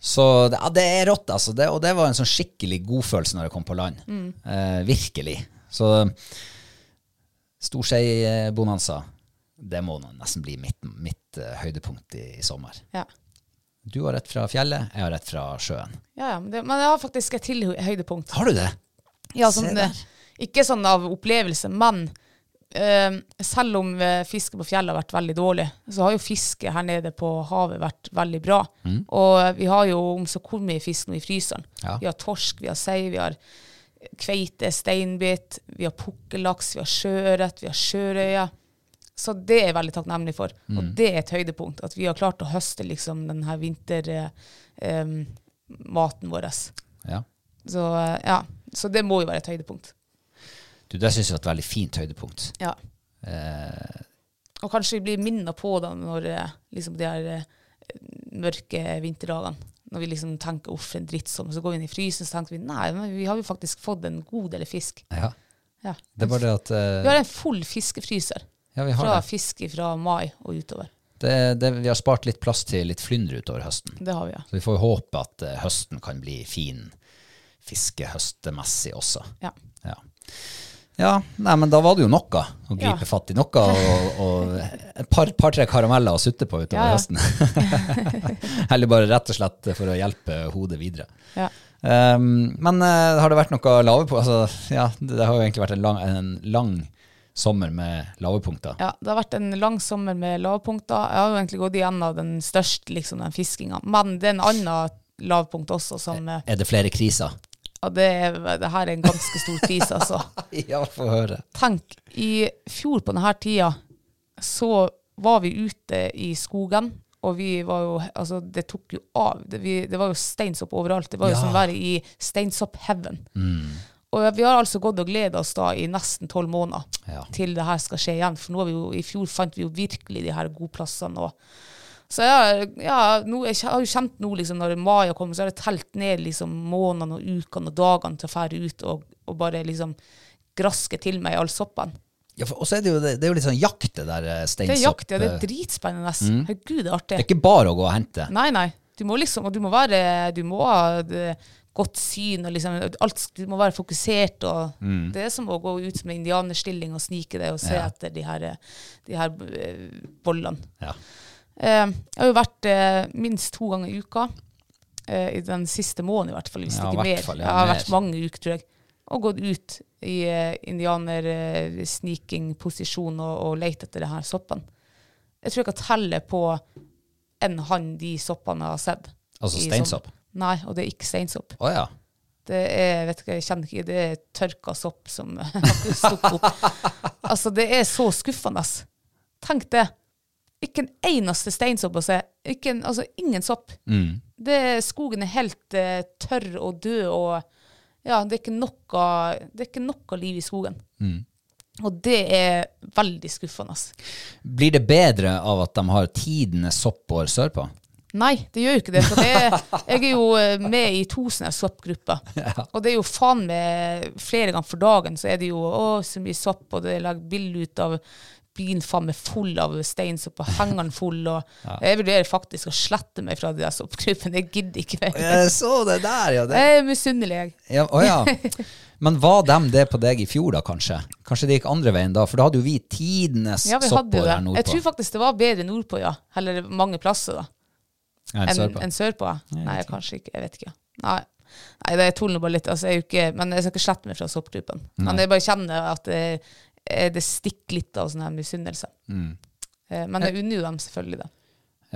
A: Så det- ja, det er rått, altså. Det, og det var en sånn skikkelig godfølelse når jeg kom på land.
B: Mm.
A: Eh, virkelig. Så Storskei-bonanza, det må nå nesten bli mitt, mitt eh, høydepunkt i, i sommer.
B: Ja.
A: Du har rett fra fjellet, jeg har rett fra sjøen.
B: Ja, ja, men, det, men jeg har faktisk et til hø- høydepunkt.
A: Har du det?
B: Ja,
A: Se
B: sånn,
A: der.
B: eh, ikke sånn av opplevelse, men eh, selv om eh, fisket på fjellet har vært veldig dårlig, så har jo fisket her nede på havet vært veldig bra. Og eh, vi har jo om så hvor mye fisk nå i fryseren.
A: Ja.
B: Vi har torsk, vi har sei, vi har kveite, steinbit, vi har pukkellaks, vi har sjøørret, vi har sjørøye. Så det er jeg veldig takknemlig for. Og det er et høydepunkt, at vi har klart å høste liksom denne vintermaten eh, vår.
A: Ja.
B: Så, eh, ja. så det må jo være et høydepunkt.
A: Du, det syns jeg var et veldig fint høydepunkt.
B: Ja.
A: Eh,
B: Og kanskje vi blir minnet på det når eh, liksom, de her eh, mørke vinterdagene. Når vi liksom tenker 'uff, en drittsommer', så går vi inn i frysen så tenker vi, nei, men vi har jo faktisk fått en god del fisk.
A: ja.
B: Ja.
A: Det er bare det at eh,
B: Vi har en full fiskefryser
A: Ja, vi har
B: fra
A: det.
B: fisk fra mai og utover.
A: Det, det. Vi har spart litt plass til litt flyndre utover høsten.
B: Det har vi, ja.
A: Så vi får jo håpe at eh, høsten kan bli fin fiskehøstemessig også.
B: ja.
A: Ja. ja, nei, men da var det jo noe å gripe
B: Ja.
A: fatt i. Noe og, og et par- par-tre karameller å sutte på utover
B: Ja, ja.
A: høsten. Eller bare rett og slett for å hjelpe hodet videre.
B: ja.
A: Um, men eh, har det vært noe lave på? Altså, ja, det har jo egentlig vært en lang, en lang sommer med lavepunkter.
B: Ja, det har vært en lang sommer med lavpunkter. Jeg har jo egentlig gått igjennom den største, liksom, den fiskinga. Men det er en annen lavpunkt også som eh,
A: Er det flere kriser?
B: Ja, det, er- det her er en ganske stor krise, altså.
A: Ja, få høre.
B: Tenk, i fjor på denne tida så var vi ute i skogen, og vi var jo Altså, det tok jo av. Det, vi, det var jo steinsopp overalt. Det var jo
A: Ja.
B: som å være i steinsoppheaven. Og vi har altså gått og gleda oss da i nesten tolv måneder
A: Ja.
B: til det her skal skje igjen. For nå har vi jo, i fjor fant vi jo virkelig de her gode plassene. Og, så ja, ja nå, jeg har jo kjent nå liksom, når mai har kommet, så har jeg telt ned liksom, månedene og ukene og dagene til å fære ut og, og bare liksom graske til meg i all soppen.
A: Ja, for, og så er det jo, det, det er jo litt sånn jakt, det der eh,
B: Det er
A: steinsopp.
B: jakt, ja. Det er dritspennende. Herregud, det er
A: Det
B: artig.
A: er ikke bare å gå og hente.
B: Nei, nei. Du må liksom, og du må være Du må ha det, godt syn, og liksom alt sk- Du må være fokusert, og Det er som å gå ut med indianerstilling og snike deg og se etter de her, eh, de her eh, bollene.
A: Ja.
B: Eh, jeg har jo vært eh, minst to ganger i uka. Eh, I den siste måneden, i hvert fall. Hvis
A: Ja,
B: ikke
A: i hvert
B: mer.
A: fall, ja,
B: jeg har
A: mer.
B: vært mange uker, tror jeg. Og gått ut i eh, indianersnikingposisjon og, og lett etter det her soppen. Jeg tror jeg kan telle på en hann de soppene jeg har sett.
A: Altså
B: i sommer.
A: steinsopp?
B: Nei, og det er ikke steinsopp.
A: Å ja.
B: Det er, vet ikke, jeg kjenner ikke, det er tørka sopp som har stukket opp. Altså, det er så skuffende. ass. Tenk det. Ikke en eneste steinsopp å se. Ikke en, altså, ingen sopp. Det, skogen er helt eh, tørr og død, og ja, det, er ikke noe, det er ikke noe liv i skogen. Og det er veldig skuffende. ass.
A: Blir det bedre av at de har tidenes soppår sørpå?
B: Nei, det gjør jo ikke det. For det er, jeg er jo eh, med i to sånne soppgrupper. Og det er jo faen meg flere ganger for dagen så er det jo å, så mye sopp, og det er lagd bilde ut av byen faen meg full av steinsopp, og hengeren full, og jeg vurderer faktisk å slette meg fra de der soppgruppene. Jeg gidder ikke mer.
A: Jeg så det der, ja. Det.
B: Jeg er misunnelig, jeg.
A: ja å ja. Men var de det på deg i fjor, da, kanskje? Kanskje det gikk andre veien da? For da hadde jo vi tidenes
B: Ja, vi hadde jo
A: soppår
B: det.
A: her
B: Jeg tror
A: nordpå.
B: faktisk det var bedre nordpå, ja. Eller mange plasser, da.
A: Ja, en
B: enn
A: sørpå.
B: enn sørpå. ja. Nei, kanskje ikke. Jeg vet ikke. Nei, Nei det er tull bare litt. Altså, jeg er jo ikke, men jeg skal ikke slette meg fra soppgruppen. Men jeg bare kjenner at det, eh, det stikker litt av sånn her misunnelse.
A: Mm.
B: Eh, Men jeg unner jo dem selvfølgelig det.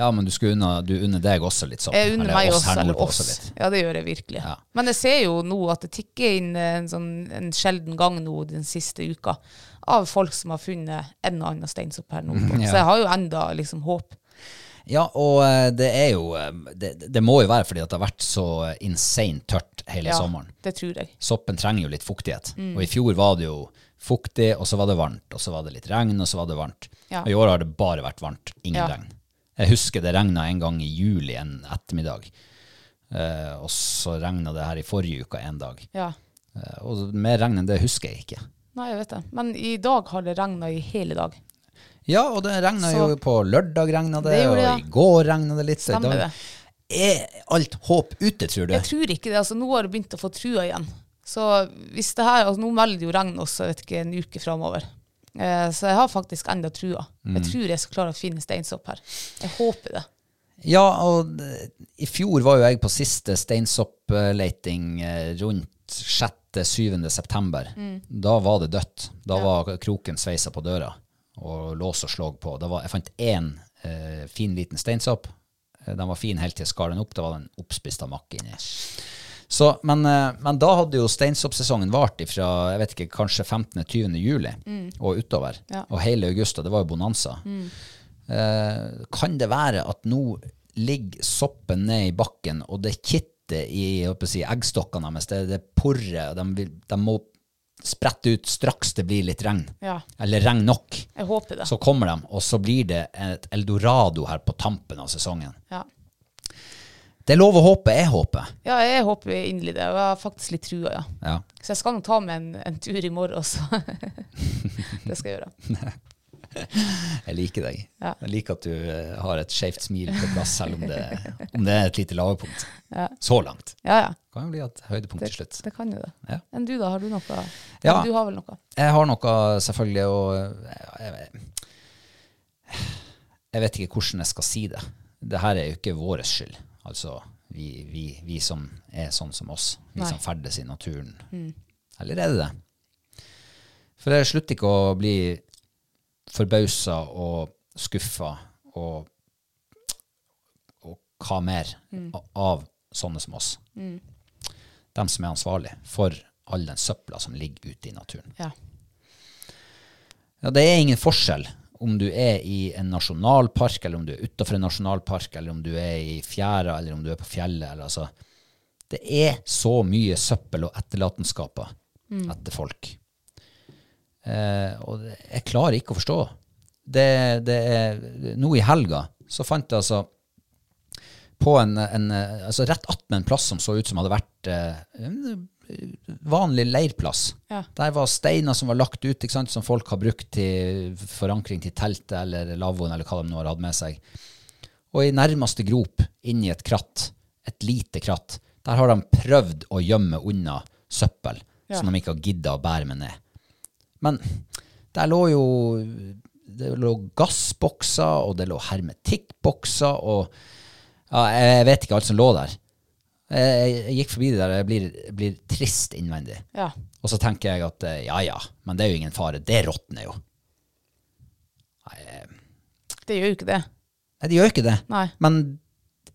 A: Ja, men du skulle unna, du unner deg også litt sopp.
B: Jeg unner
A: Eller
B: meg
A: oss
B: også,
A: her
B: eller
A: nordpå
B: oss.
A: litt.
B: Ja, det gjør jeg virkelig.
A: Ja.
B: Men jeg ser jo nå at det tikker inn eh, en, sånn, en sjelden gang nå den siste uka av folk som har funnet en og annen steinsopp her nordpå.
A: Ja.
B: Så jeg har jo enda liksom håp.
A: Ja, og eh, det er jo eh, Det, det må jo være fordi at det har vært så insane tørt hele
B: Ja,
A: sommeren.
B: det tror jeg.
A: Soppen trenger jo litt fuktighet.
B: Mm.
A: Og i fjor var det jo fuktig, og så var det varmt. Og så var det litt regn, og så var det varmt.
B: Ja.
A: Og i år har det bare vært varmt. Ingen
B: Ja.
A: regn. Jeg husker det regna en gang i juli en ettermiddag. Eh, og så regna det her i forrige uke en dag.
B: Ja.
A: Eh, og mer regn enn det husker jeg ikke.
B: Nei, jeg vet det. Men i dag har det regna i hele dag.
A: Ja, og det regna
B: Så-
A: jo på lørdag, regna det,
B: Det gjorde det, ja.
A: og i går regna det litt. så i
B: Stemmer
A: dag-
B: det.
A: Er alt håp ute, tror du?
B: Jeg tror ikke det. altså Nå har jeg begynt å få trua igjen. Så hvis det her, altså Nå melder jo regn også jeg vet ikke, en uke framover. Eh, så jeg har faktisk enda trua.
A: Mm.
B: Jeg tror jeg skal klare å finne steinsopp her. Jeg håper det.
A: Ja, og eh, i fjor var jo jeg på siste steinsoppleiting eh, rundt 6.-7. september. Da var det dødt. Da var kroken sveisa på døra og lås og slåg på. Da var, jeg fant én eh, fin, liten steinsopp. Eh, Den var fin helt til jeg skar den opp. Da var den oppspist av makk inni. Så, men, eh, men da hadde jo steinsoppsesongen vart fra jeg vet ikke, kanskje 15.-20. juli og utover.
B: Mm. Ja. Mm.
A: Og hele august, og det var jo bonanza. Eh, kan det være at nå ligger soppen ned i bakken, og det kitter i jeg håper å si, eggstokkene deres, det, det porrer, og de, vil, de må sprette ut straks det blir litt regn,
B: Ja,
A: eller regn nok.
B: jeg håper det.
A: Så kommer de, og så blir det et eldorado her på tampen av sesongen.
B: Ja.
A: Det er lov å håpe, jeg håper.
B: ja, jeg håper inderlig det. Og jeg har faktisk litt trua, ja.
A: Ja.
B: Så jeg skal nok ta meg en, en tur i morgen også. det skal jeg gjøre.
A: Jeg liker deg.
B: Ja.
A: Jeg liker at du eh, har et skjevt smil på plass, selv om det, om det er et lite lavpunkt.
B: Ja.
A: Så langt.
B: Ja, ja.
A: Det kan jo bli et høydepunkt
B: Det,
A: til slutt.
B: det kan jo det.
A: Ja.
B: Enn du, da? Har du noe?
A: Ja.
B: Du har vel noe?
A: Jeg har noe, selvfølgelig, og jeg, jeg, jeg vet ikke hvordan jeg skal si det. Det her er jo ikke vår skyld. Altså, vi, vi, vi som er sånn som oss. Vi
B: Nei.
A: som ferdes i naturen. Eller er det det? For jeg slutter ikke å bli forbausa og skuffa og, og hva mer a- av sånne som oss. Dem som er ansvarlig for all den søpla som ligger ute i naturen.
B: Ja.
A: Ja, det er ingen forskjell om du er i en nasjonalpark, eller om du er utafor en nasjonalpark, eller om du er i fjæra, eller om du er på fjellet. Eller, altså. Det er så mye søppel og etterlatenskaper etter folk. Eh, og det- jeg klarer ikke å forstå. Det, det er, nå i helga så fant jeg altså på en, en eh, altså rett attmed en plass som så ut som hadde vært eh, en vanlig leirplass.
B: Ja.
A: Der var steiner som var lagt ut, ikke sant, som folk har brukt til forankring til teltet eller lavvoen eller hva de nå har hatt med seg. Og i nærmeste grop, inni et kratt, et lite kratt, der har de prøvd å gjemme unna søppel
B: Ja.
A: som de ikke har gidda å bære med ned. Men der lå jo det lå gassbokser, og det lå hermetikkbokser, og ja, jeg vet ikke alt som lå der. Jeg, jeg gikk forbi det der, jeg blir, jeg blir trist innvendig.
B: ja.
A: Og så tenker jeg at eh, ja ja, men det er jo ingen fare, det råtner jo.
B: Det gjør jo ikke det.
A: Nei, det gjør jo ikke det.
B: Nei.
A: Men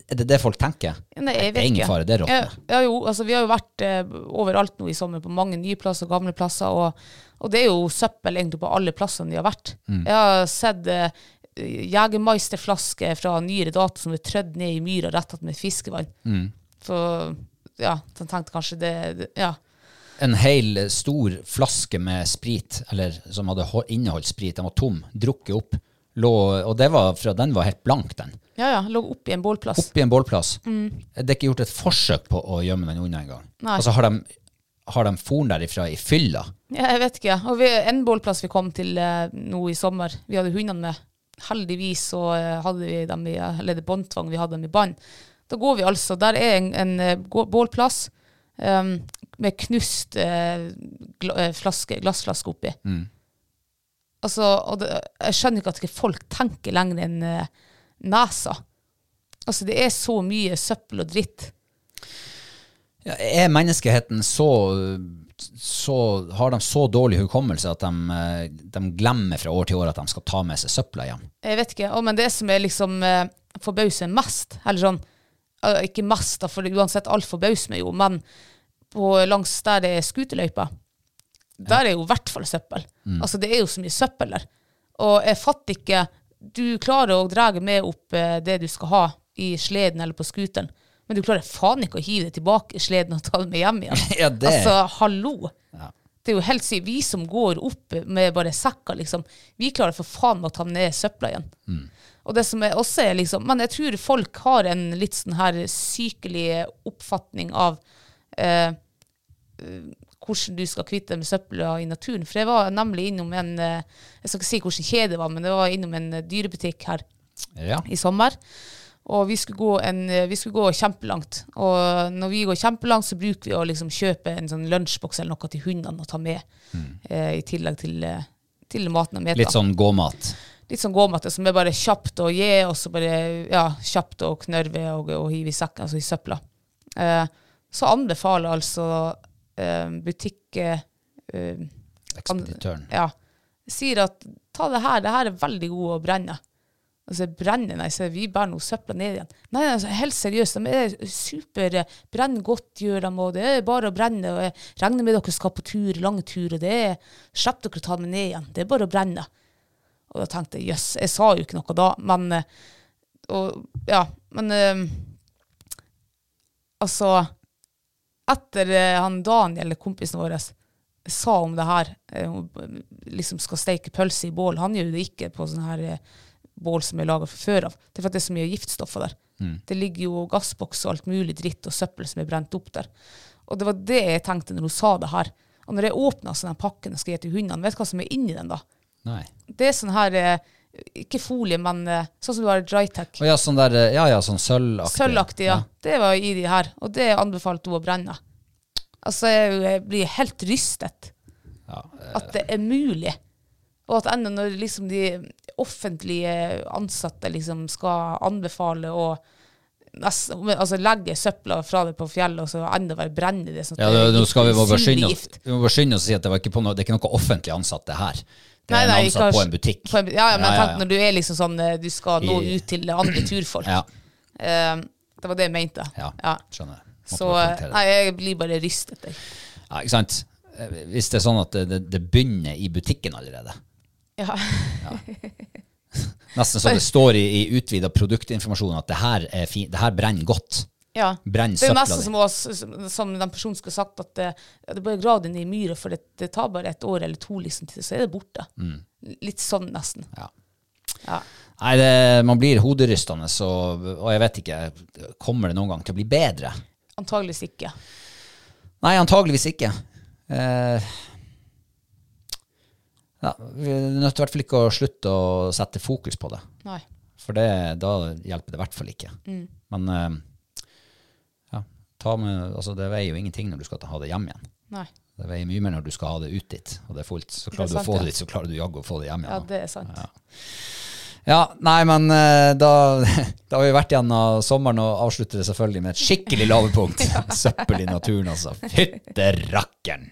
A: er det det folk tenker?
B: Nei, jeg
A: det
B: vet
A: er ingen
B: ikke.
A: fare, det
B: Ja,
A: råtner.
B: ja, jo, altså vi har jo vært eh, overalt nå i sommer, på mange nye plasser og gamle plasser, og, og det er jo søppel egentlig på alle plassene de har vært.
A: Mm.
B: Jeg har sett eh, jegermeisterflasker fra nyere dato som er trødd ned i myra rett attmed fiskevann.
A: Mm.
B: For ja, så jeg tenkte kanskje det, det Ja.
A: En hel eh, stor flaske med sprit, eller som hadde ho- inneholdt sprit, den var tom, drukket opp, lå, og det var fra, den var helt blank, den.
B: Ja, ja. Lå oppi en bålplass.
A: Oppi en bålplass. Det er ikke gjort et forsøk på å gjemme den unna engang.
B: Nei.
A: Altså, har de, har de forn derifra i fylla?
B: Ja, jeg vet ikke. Og vi, en bålplass vi kom til eh, nå i sommer, vi hadde hundene med. Heldigvis så eh, hadde vi dem i, eller det er båndtvang, vi hadde dem i bånd. Da går vi altså, der er en, en eh, gå- bålplass em, med knust eh, gla, eh, flaske, glassflaske oppi. Altså, og det, jeg skjønner ikke at ikke folk tenker lenger enn eh, nesa. Altså, det er så mye søppel og dritt.
A: Ja, Er menneskeheten så, så Har de så dårlig hukommelse at de, eh, de glemmer fra år til år at de skal ta med seg søpla hjem?
B: Jeg vet ikke. Å, men det som er liksom eh, forbauser mest, eller sånn eh, Ikke mest, da, for det- uansett, alt forbauser meg jo, men på langs der det er scooterløyper,
A: Mm.
B: der er jo i hvert fall søppel. Altså, det er jo så mye søppel der. Og jeg fatter ikke du klarer å dra med opp eh, det du skal ha i sleden eller på skuteren, men du klarer faen ikke å hive det tilbake i sleden og ta det med hjem igjen.
A: Ja, det-
B: Altså, hallo. Det er jo helt sykt. Vi som går opp med bare sekker, liksom, vi klarer for faen meg å ta ned søpla igjen. Og det som er også er liksom, Men jeg tror folk har en litt sånn her sykelig oppfatning av eh, hvordan du skal kvitte deg med søpla i naturen. For jeg var nemlig innom en eh, Jeg skal ikke si hvilken kjede det var, men det var innom en eh, dyrebutikk her
A: Ja.
B: i sommer. Og vi skulle, gå en, eh, vi skulle gå kjempelangt. Og når vi går kjempelangt, så bruker vi å liksom kjøpe en sånn lunsjboks eller noe til hundene å ta med. Eh, I tillegg til, eh, til maten de spiser.
A: Mm. Litt sånn gåmat.
B: Litt sånn gåmatte som er bare kjapt å gi, og så bare ja, kjapt å knørve og, og hive i sekken, altså i søpla. Eh, så anbefaler altså eh, butikk... Eh,
A: Ekspeditøren.
B: an- Ja. Sier at ta det her, det her er veldig god å brenne. Altså brenne, nei, så vi bærer noe søpla ned igjen. Nei, nei, altså, helt seriøst, de er super eh, brenn godt gjør de, og det er bare å brenne, og jeg regner med dere skal på tur, lang tur, og det er, slipp dere å ta dem ned igjen, det er bare å brenne. Og da tenkte jeg, jøss, jeg sa jo ikke noe da, men eh, og, Ja, men eh, Altså Etter eh, han Daniel, kompisen vår, sa om det her eh, om, eh, Liksom skal steike pølse i bål. Han gjør jo det ikke på sånn her eh, bål som er laga fra før av. Det er for at det er så mye giftstoffer der. Det ligger jo gassboks og alt mulig dritt og søppel som er brent opp der. Og det var det jeg tenkte når hun sa det her. Og når jeg åpna sånn her pakken jeg skal gi til hundene, vet du hva som er inni den da?
A: Nei.
B: Det er sånn her eh, Ikke folie, men eh, sånn som du har i Drytech.
A: Å ja, sånn der, eh, ja, ja, sånn sølvaktig.
B: Sølvaktig, ja. Det var i de her. Og det anbefalte hun å brenne. Altså, jeg, jeg blir helt rystet.
A: eh.
B: At det er mulig. Og at enda når liksom de offentlige ansatte liksom skal anbefale å nesten- altså legge søpla fra deg på fjellet, og så enda være brennende. det er Sånn at
A: Ja,
B: det er
A: nå skal vi bare
B: synlig
A: skynde oss,
B: gift.
A: vi må bare skynde oss og si at det, var ikke på noe, det er ikke noe offentlig ansatte her. Det er
B: Nei, nei,
A: en
B: ikke
A: ansatt på
B: har-
A: en butikk.
B: på en bu- ja, ja, men jeg
A: Ja, ja,
B: tenkte når du er liksom sånn eh, Du skal nå
A: I-
B: ut til andre turfolk.
A: Ja,
B: Eh, det var det jeg mente.
A: ja,
B: Ja.
A: skjønner. jeg. Måtte
B: Så
A: bare
B: eh,
A: kommentere det.
B: Nei, jeg blir bare rystet. Jeg.
A: Ja, ikke sant? Eh, Hvis det er sånn at det, det, det begynner i butikken allerede.
B: Ja.
A: Nesten så det står i, i utvida produktinformasjon at det her, er fi, det her brenner godt.
B: ja.
A: Brenn
B: Det er
A: søpla
B: nesten
A: di.
B: som, oss, som- som den personen skulle sagt, at eh, ja, det er bare grav den i myra, for det, det tar bare et år eller to, liksom, til, så er det borte.
A: Mm.
B: Litt sånn, nesten.
A: Ja.
B: Ja.
A: Nei, det, man blir hoderystende, og, og jeg vet ikke, kommer det noen gang til å bli bedre?
B: Antageligvis ikke.
A: Nei, antageligvis ikke. Eh, ja, vi er nødt til i hvert fall ikke å slutte å sette fokus på det.
B: Nei.
A: For det, da hjelper det i hvert fall ikke.
B: Mm.
A: Men eh, ja, ta med, altså, det veier jo ingenting når du skal ta- ha det hjem igjen.
B: Nei.
A: Det veier mye mer når du skal ha det ut dit, og det er fullt. Så klarer du
B: sant,
A: å få
B: ja.
A: det dit, så klarer du jaggu å få det hjem igjen.
B: Ja,
A: da.
B: det er sant.
A: Ja, nei, men eh, da, da har vi vært gjennom sommeren og avslutter det selvfølgelig med et skikkelig lavepunkt. Søppel i naturen, altså. Fytte rakkeren!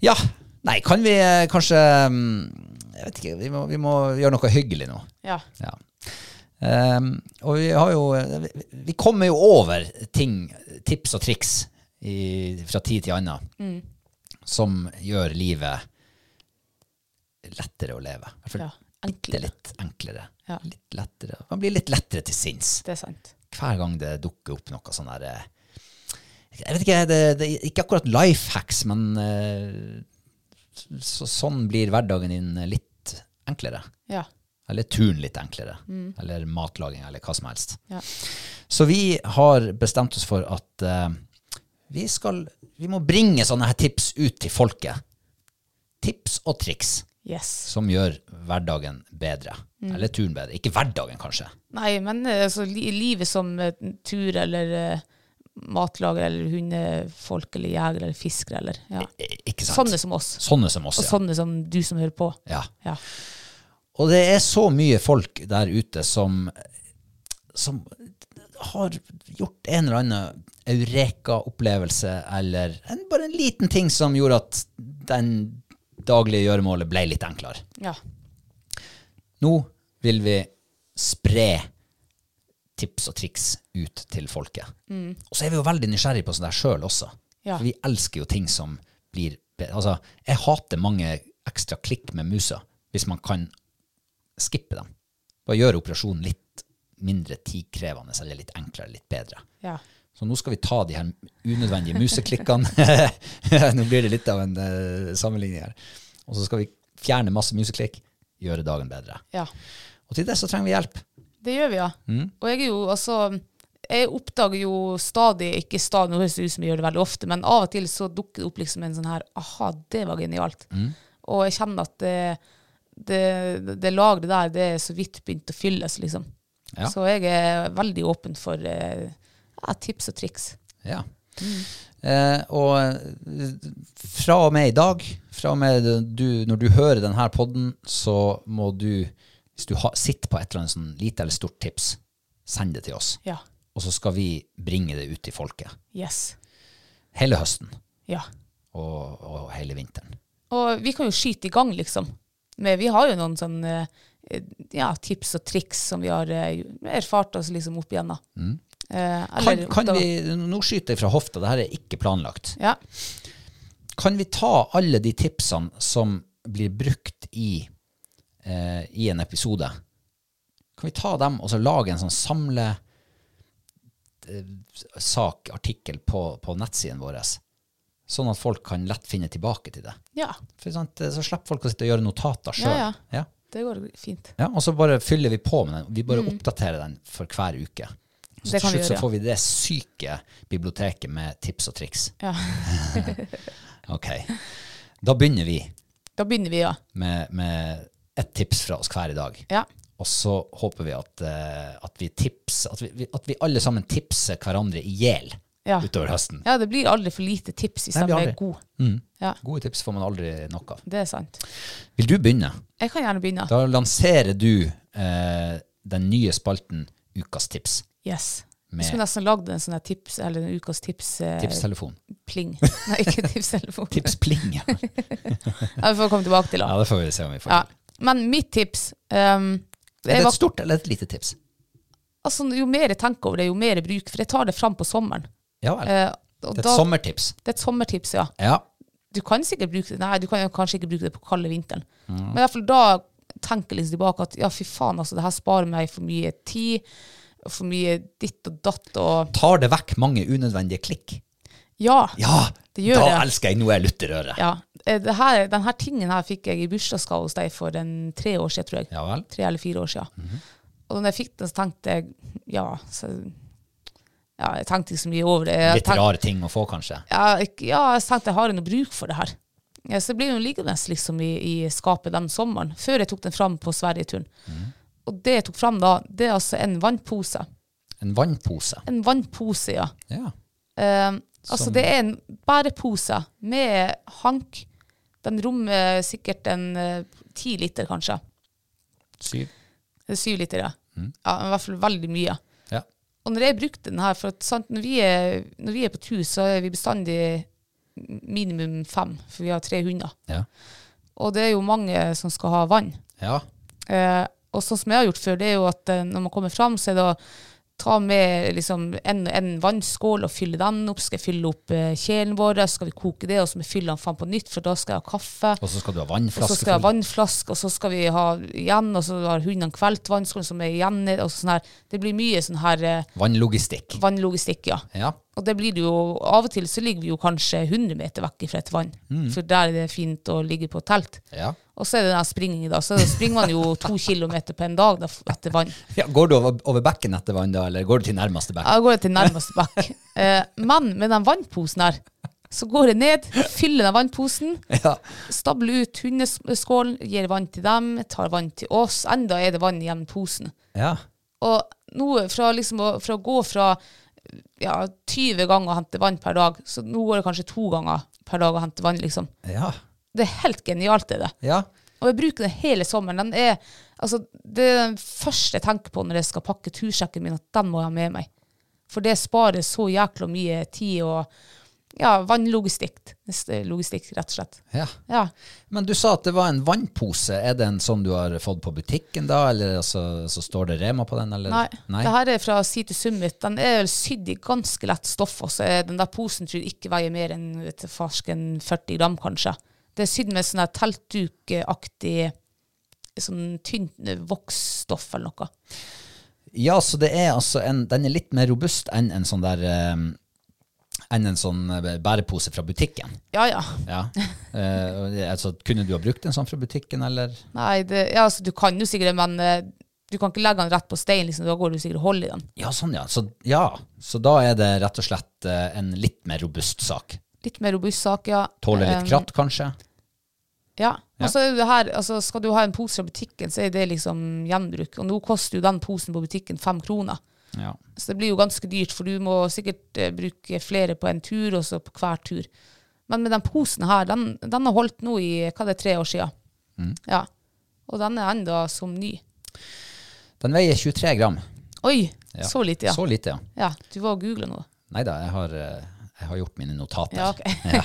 A: Ja, nei, kan vi eh, kanskje mm, Jeg vet ikke, vi må, vi må gjøre noe hyggelig nå.
B: Ja.
A: Ja. Ehm, og vi har jo eh, vi- Vi kommer jo over ting, tips og triks i, fra tid til annen
B: Mm.
A: som gjør livet lettere å leve. I hvert fall
B: ja.
A: bitte
B: Enklere.
A: litt enklere.
B: Ja.
A: Litt lettere. Man blir litt lettere til sinns
B: Det er sant.
A: hver gang det dukker opp noe sånn der eh, Jeg vet ikke, det, det er ikke akkurat life hacks, men eh, så, sånn blir hverdagen din litt enklere.
B: Ja.
A: Eller turen litt enklere. Eller matlaging, eller hva som helst.
B: Mm. Ja.
A: Så vi har bestemt oss for at eh, vi, skal, vi må bringe sånne her tips ut til folket. Tips og triks
B: Yes.
A: som gjør hverdagen bedre.
B: Mm.
A: Eller turen bedre. Ikke hverdagen, kanskje.
B: Nei, men eh, altså, li livet som eh, tur eller eh, matlager eller hundefolk eller jegere eller fiskere eller ja.
A: I- Ikke sant?
B: Sånne som oss.
A: Sånne som oss,
B: Og
A: ja.
B: sånne som du som hører på.
A: ja.
B: Ja.
A: Og det er så mye folk der ute som, som har gjort en eller annen eureka-opplevelse, eller en, bare en liten ting som gjorde at den daglige gjøremålet ble litt enklere.
B: ja.
A: Nå vil vi spre tips og triks ut til folket. Og så er vi jo veldig nysgjerrige på sånt der sjøl også.
B: Ja.
A: For vi elsker jo ting som blir be- Altså, jeg hater mange ekstra klikk med musa hvis man kan skippe dem. Bare gjøre operasjonen litt mindre tidkrevende eller litt enklere, litt bedre.
B: ja.
A: Så nå skal vi ta de her unødvendige museklikkene. nå blir det litt av en eh, sammenligning her. Og så skal vi fjerne masse museklikk, gjøre dagen bedre.
B: ja.
A: Og til det så trenger vi hjelp.
B: Det gjør vi, ja.
A: Mm.
B: Og jeg er jo, altså Jeg oppdager jo stadig Ikke stadig, nå høres det ut som jeg gjør det veldig ofte, men av og til så dukker det opp liksom en sånn her Aha, det var genialt.
A: Mm.
B: Og jeg kjenner at det, det, det lageret der, det er så vidt begynt å fylles, liksom.
A: Ja.
B: Så jeg er veldig åpen for eh, ja, tips og triks.
A: Ja. Eh, og eh, fra og med i dag, fra og med du, når du hører denne podden, så må du, hvis du ha, sitter på et eller annet sånn lite eller stort tips, send det til oss.
B: Ja.
A: Og så skal vi bringe det ut til folket.
B: Yes.
A: Hele høsten
B: Ja.
A: og, og hele vinteren.
B: Og vi kan jo skyte i gang, liksom. Men vi har jo noen sånne eh, ja, tips og triks som vi har eh, erfart oss liksom opp igjennom. Eh,
A: Mm. Kan,
B: eller-
A: kan vi, nå skyter jeg fra hofta, det her er ikke planlagt.
B: Ja.
A: Kan vi ta alle de tipsene som blir brukt i, eh, i en episode? Kan vi ta dem og så lage en sånn samle eh, sak, artikkel på, på nettsiden vår, sånn at folk kan lett finne tilbake til det?
B: ja.
A: For sant, eh, Så slipper folk å sitte og gjøre notater sjøl.
B: Ja,
A: ja.
B: Det går fint.
A: Ja, og så bare fyller vi på med den. Vi bare oppdaterer den for hver uke. Så
B: Mm. Det
A: til
B: kan vi
A: slutt så
B: gjøre, ja.
A: får vi det syke biblioteket med tips og triks.
B: Ja.
A: ok. Da begynner vi
B: Da begynner vi, ja.
A: med, med ett tips fra oss hver i dag.
B: Ja.
A: Og så håper vi at, eh, at, vi, tips, at, vi, at vi alle sammen tipser hverandre i hjel
B: Ja.
A: utover høsten.
B: ja, det blir aldri for lite tips hvis
A: Nei,
B: de
A: det blir
B: er
A: aldri.
B: gode.
A: Mm.
B: Ja,
A: Gode tips får man aldri nok av.
B: det er sant.
A: Vil du begynne?
B: Jeg kan gjerne begynne.
A: Da lanserer du eh, den nye spalten Ukas tips.
B: Yes.
A: Med-
B: Vi skulle nesten lagd en sånn her tips, eller en ukas tips, eh,
A: Tipstelefon.
B: pling. Nei, ikke tipstelefon.
A: Tipspling.
B: Ja, vi får komme tilbake til det.
A: Ja, det får vi se om vi får
B: Ja.
A: til.
B: Men mitt tips ehm,
A: Er
B: jeg
A: det
B: var-
A: et stort eller et lite tips?
B: altså, Jo mer jeg tenker over det, jo mer jeg bruker. For jeg tar det fram på sommeren.
A: Ja vel.
B: Eh, og
A: Det er
B: da,
A: et sommertips.
B: det er et sommertips, ja.
A: Ja.
B: Du kan sikkert bruke det Nei, du kan jo kanskje ikke bruke det på kalde vinteren.
A: Mm.
B: Men i hvert fall da tenker jeg liksom tilbake at ja, fy faen, altså, det her sparer meg for mye tid. og For mye ditt og datt og
A: Tar det vekk mange unødvendige klikk?
B: Ja!
A: Ja!
B: Det gjør
A: da
B: det.
A: elsker jeg Nå er jeg lutterøret.
B: ja. Eh, Det her, den her tingen her fikk jeg i bursdagsgave hos deg for en tre år siden, tror jeg.
A: Ja Mhm. vel.
B: tre eller fire år siden. Og da jeg fikk den, så tenkte jeg ja, så, ja, jeg tenkte ikke så mye over det. Jeg
A: Litt
B: tenkte,
A: rare ting å få, kanskje.
B: ja, jeg, ja, jeg tenkte jeg har noe bruk for det her. Ja, så det ble jo liggende liksom, i, i skapet den sommeren, før jeg tok den fram på Sverigeturen. Og det jeg tok fram da, det er altså en vannpose.
A: En vannpose.
B: En vannpose, ja.
A: Ja.
B: Eh, altså
A: Som-
B: det er en bærepose med hank. Den rommer sikkert en eh, ti liter, kanskje.
A: Syv.
B: Det er Syv liter, ja. ja. I hvert fall veldig mye.
A: Ja.
B: Og når jeg brukte den her, for at, sant, når, vi er, når vi er på tur, så er vi bestandig minimum fem, for vi har tre hunder.
A: Ja.
B: Og det er jo mange som skal ha vann.
A: ja.
B: Eh, og sånn som jeg har gjort før, det er jo at eh, når man kommer fram, så er det å ta med liksom, en, en vannskål og fylle den opp. Skal jeg fylle opp eh, kjelen vår, skal vi koke det, og så må jeg fylle den faen på nytt, for da skal jeg ha kaffe.
A: Og så skal du ha
B: Og
A: vannflaske
B: så skal jeg ha
A: full.
B: vannflaske, og så skal vi ha igjen, og så har hundene kvelt vannskålen som er igjen. Og så sånn her. Det blir mye sånn her eh,
A: Vannlogistikk.
B: vannlogistikk, ja.
A: Ja.
B: Og det blir det jo, av og til så ligger vi jo kanskje 100 meter vekk fra et vann, for der er det fint å ligge på telt.
A: Mm. Ja.
B: Og så er det den springingen, da. Så springer man jo to kilometer på en dag da, etter vann.
A: Ja, går du over, over bekken etter vann da, eller går du til nærmeste bekk?
B: Da går jeg til nærmeste bekk. Eh, men med den vannposen her, så går jeg ned, fyller den vannposen,
A: Ja.
B: stabler ut hundeskålen, gir vann til dem, tar vann til oss. Enda er det vann igjen i posen.
A: ja.
B: Og nå fra, liksom, å- fra å gå fra ja, 20 ganger å hente vann per dag, så nå går det kanskje to ganger per dag å hente vann, liksom.
A: Ja.
B: Det er helt genialt, det er det.
A: Ja.
B: Og jeg bruker den hele sommeren. Den er, altså, det er den første jeg tenker på når jeg skal pakke tursekken min, at den må jeg ha med meg. For det sparer så jækla mye tid og ja, vannlogistikk. Logistikk, rett og slett.
A: ja.
B: Ja.
A: Men du sa at det var en vannpose. Er det en sånn du har fått på butikken da, eller altså, så står det Rema på den? Eller?
B: Nei. Det her er fra Sea to Summit. Den er vel sydd i ganske lett stoff. Og så er den der posen tror jeg ikke veier mer enn vet du, farsken 40 gram, kanskje. Det er sydd med sånn her teltdukaktig sånn tynt eh, voksstoff eller noe.
A: Ja, så det er altså en, den er litt mer robust enn en sånn der eh, enn en sånn eh, bærepose fra butikken.
B: Ja, ja.
A: Ja. Eh, og det- altså, kunne du ha brukt en sånn fra butikken, eller?
B: Nei, det, ja, altså, du kan jo sikkert det, men eh, du kan ikke legge den rett på steinen. Liksom. Da går du sikkert og holder i den.
A: Ja, sånn, ja. Så, ja. så da er det rett og slett eh, en litt mer robust sak.
B: Litt mer robust sak, ja.
A: Tåler
B: Um,
A: litt kratt, kanskje?
B: Ja.
A: Ja.
B: Og så er det her, altså, skal du ha en pose fra butikken, så er det liksom gjenbruk. Og nå koster jo den posen på butikken fem kroner.
A: Ja.
B: Så det blir jo ganske dyrt, for du må sikkert eh, bruke flere på en tur, og så på hver tur. Men med den posen her, den, den har holdt nå i hva det er, tre år siden.
A: Mm.
B: Ja. Og den er enda som ny.
A: Den veier 23 gram.
B: Oi,
A: Ja.
B: så lite, ja.
A: Så lite, ja.
B: ja. Du var og googlet nå.
A: Nei da, jeg har, eh, jeg har gjort mine notater.
B: Ja,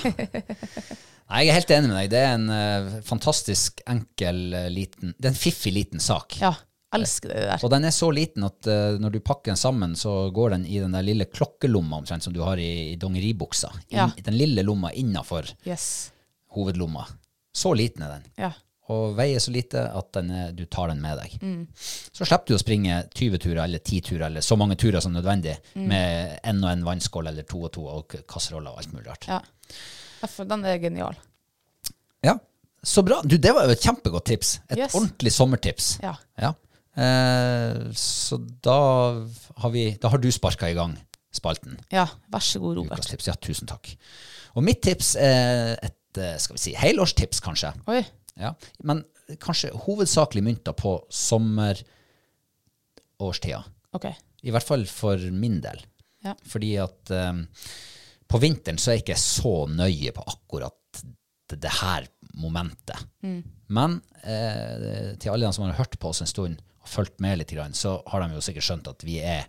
B: ok.
A: Nei, Jeg er helt enig med deg. Det er en eh, fantastisk enkel, eh, liten Det er en fiffig liten sak.
B: Ja, elsker det der.
A: Og den er så liten at eh, når du pakker den sammen, så går den i den der lille klokkelomma omtrent som du har i, i dongeribuksa. Inn-
B: Ja.
A: Den lille lomma innafor
B: Yes.
A: hovedlomma. Så liten er den.
B: Ja.
A: Og veier så lite at den er, du tar den med deg.
B: Mm.
A: Så slipper du å springe 20 turer eller 10 turer eller så mange turer som nødvendig
B: Mm.
A: med én og én vannskål eller to og to og k- kasseroller og alt mulig rart.
B: ja. Ja, for Den er genial.
A: Ja. Så bra. Du, det var jo et kjempegodt tips. Et
B: Yes.
A: ordentlig sommertips.
B: Ja.
A: Eh, så da har, vi, da har du sparka i gang spalten.
B: Ja, vær så god,
A: Ukas
B: Robert.
A: tips. Ja, tusen takk. Og mitt tips er et eh, skal vi si, helårstips, kanskje.
B: Oi.
A: Ja. Men kanskje hovedsakelig mynta på sommerårstida.
B: Ok.
A: I hvert fall for min del.
B: Ja.
A: Fordi at eh, på vinteren så er jeg ikke så nøye på akkurat det, det her momentet. Men eh, til alle de som har hørt på oss en stund og fulgt med litt, grann, så har de jo sikkert skjønt at vi er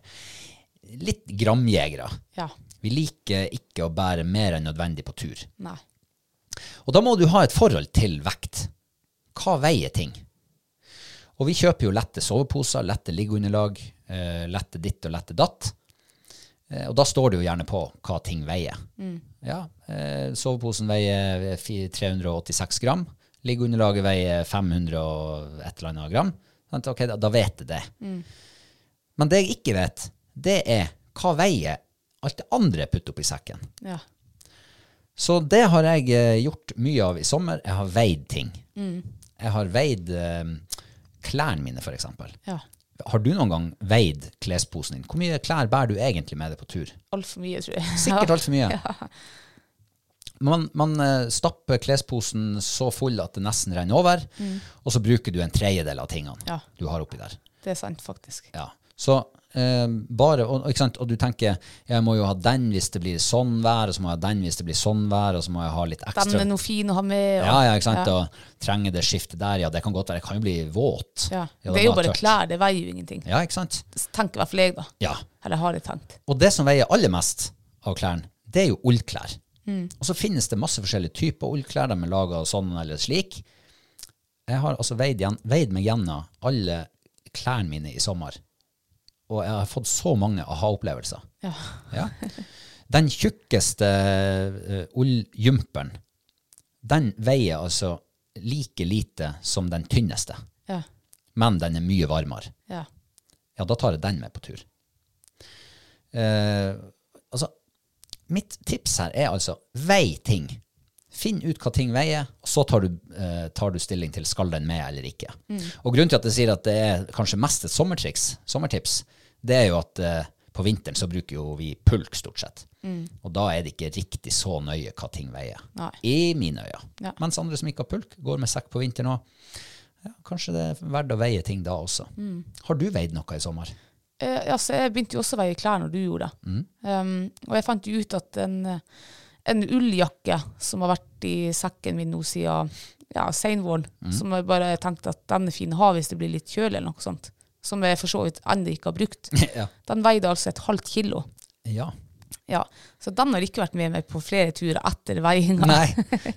A: litt gramjegere.
B: Ja.
A: Vi liker ikke å bære mer enn nødvendig på tur.
B: Nei.
A: Og da må du ha et forhold til vekt. Hva veier ting? Og vi kjøper jo lette soveposer, lette liggeunderlag, eh, lette ditt og lette datt. Eh, og da står det jo gjerne på hva ting veier. Ja, eh, soveposen veier fi- 386 gram. Liggeunderlaget veier 500 og et eller annet gram. Sant? Ok, da, da vet jeg det. Men det jeg ikke vet, det er hva veier alt det andre jeg putter oppi sekken.
B: Ja.
A: Så det har jeg eh, gjort mye av i sommer. Jeg har veid ting. Jeg har veid eh, klærne mine, for eksempel.
B: ja.
A: Har du noen gang veid klesposen din? Hvor mye klær bærer du egentlig med deg på tur?
B: Altfor mye, tror jeg.
A: Sikkert altfor mye. Man, man eh, stapper klesposen så full at det nesten renner over, og så bruker du en tredjedel av tingene
B: Ja.
A: du har oppi der.
B: Det er sant, faktisk.
A: Ja. Så eh, bare, og, og ikke sant? og du tenker jeg må jo ha den hvis det blir sånn vær, og så må jeg ha den hvis det blir sånn vær, og så må jeg ha litt ekstra
B: Den er noe fin å ha med. og-
A: ja, ja, ikke sant? Og trenger det skiftet der, ja, det kan godt være. Jeg kan jo bli våt.
B: Ja.
A: Ja,
B: Det er jo
A: da
B: bare
A: tørt.
B: klær, det veier jo ingenting.
A: Ja, ikke sant?
B: Tenker i hvert fall jeg, da.
A: Ja.
B: Eller har jeg tenkt.
A: Og det som veier aller mest av klærne, det er jo ullklær.
B: Mm.
A: Og så finnes det masse forskjellige typer ullklær. De er laga sånn eller slik. Jeg har altså veid, igjen, veid meg gjennom alle klærne mine i sommer, og jeg har fått så mange aha-opplevelser.
B: Ja.
A: Ja. Den tjukkeste eh, ulljumperen, den veier altså like lite som den tynneste,
B: Ja.
A: men den er mye varmere.
B: Ja.
A: Ja, da tar jeg den med på tur. Eh, altså, mitt tips her er altså vei ting. Finn ut hva ting veier, og så tar du, eh, tar du stilling til skal den med eller ikke.
B: Mm.
A: Og grunnen til at jeg sier at det er kanskje mest et sommertriks, sommertips, det er jo at eh, på vinteren så bruker jo vi pulk stort sett. Og da er det ikke riktig så nøye hva ting veier.
B: Mm. Nei.
A: I mine øyne.
B: Ja.
A: Mens andre som ikke har pulk, går med sekk på vinteren òg. Ja, kanskje det er verdt å veie ting da også.
B: Mm.
A: Har du veid noe i sommer?
B: Eh, ja, så jeg begynte jo også å veie klær når du gjorde det.
A: Mm.
B: Um, og jeg fant jo ut at en, eh, en ulljakke som har vært i sekken min nå siden ja, seinvåren,
A: Mm.
B: som jeg bare tenkte at den er fin å ha hvis det blir litt kjølig eller noe sånt, som jeg for så vidt ennå ikke har brukt,
A: ja.
B: den veide altså et halvt kilo.
A: ja.
B: Ja, Så den har ikke vært med meg på flere turer etter veiinga.
A: Nei.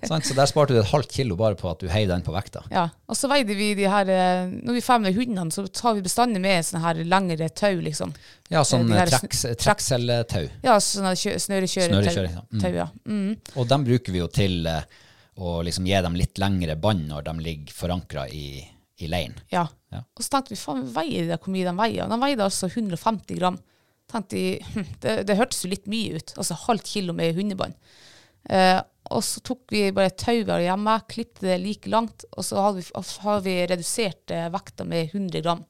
A: Sant? Så der sparte du et halvt kilo bare på at du heiv den på vekta.
B: Ja, og så veide vi de her eh, Når vi er ferdig med hundene, så tar vi bestandig med sånne her lengre tau, liksom.
A: Ja, sånn
B: De her
A: trekks-
B: sn-
A: trekkseltau.
B: Ja, sånne kjø snørekjøretau.
A: Snørekjøring, ja. Mm.
B: tau, ja. Mm.
A: Og dem bruker vi jo til eh, å liksom gi dem litt lengre bånd når de ligger forankra i, i leiren.
B: Ja.
A: Ja.
B: Og så tenkte vi, faen, veier det hvor mye de veier? Og De veide altså 150 gram. Tenkte vi, hm, det, det hørtes jo litt mye ut, altså halvt kilo med hundebånd. Eh, og så tok vi bare et tau vi har hjemme, klippte det like langt, og så har vi, har vi redusert eh, vekta med 100 gram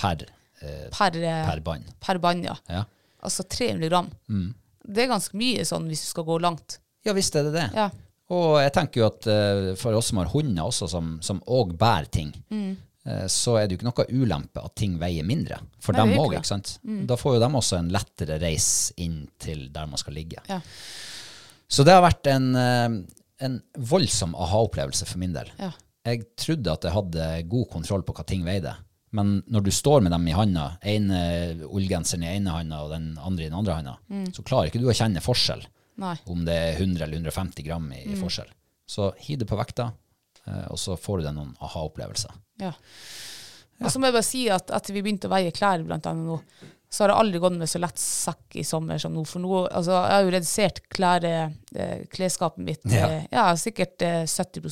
A: Per, eh,
B: per, eh,
A: per Mm. bånd.
B: per bånd. Ja.
A: Ja.
B: Altså 300 gram. Det er ganske mye sånn hvis du skal gå langt.
A: ja visst er det det.
B: Ja.
A: Og jeg tenker jo at eh, for oss som har hunder også, som, som og bærer ting,
B: Mm.
A: eh, så er det jo ikke noe ulempe at ting veier mindre. For
B: Nei, det
A: dem
B: er Mm. jo
A: òg,
B: ikke det.
A: ikke sant. Da får jo dem også en lettere reis inn til der man skal ligge.
B: Ja.
A: Så det har vært en, eh, en voldsom aha-opplevelse for min del.
B: Ja.
A: Jeg trodde at jeg hadde god kontroll på hva ting veide. Men når du står med dem i handa, ene eh, ullgenseren i ene handa og den andre i den andre handa,
B: Mm.
A: så klarer ikke du å kjenne forskjell
B: Nei.
A: om det er 100 eller 150 gram i forskjell. Så hiv det på vekta, eh, og så får du deg noen aha-opplevelser.
B: Ja. Og så må jeg bare si at etter vi begynte å veie klær, blant annet nå, så har jeg aldri gått med så lett sekk i sommer som nå. For nå altså, jeg har jo redusert klær, eh, klesskapet mitt
A: Ja.
B: eh, ja, sikkert eh, 70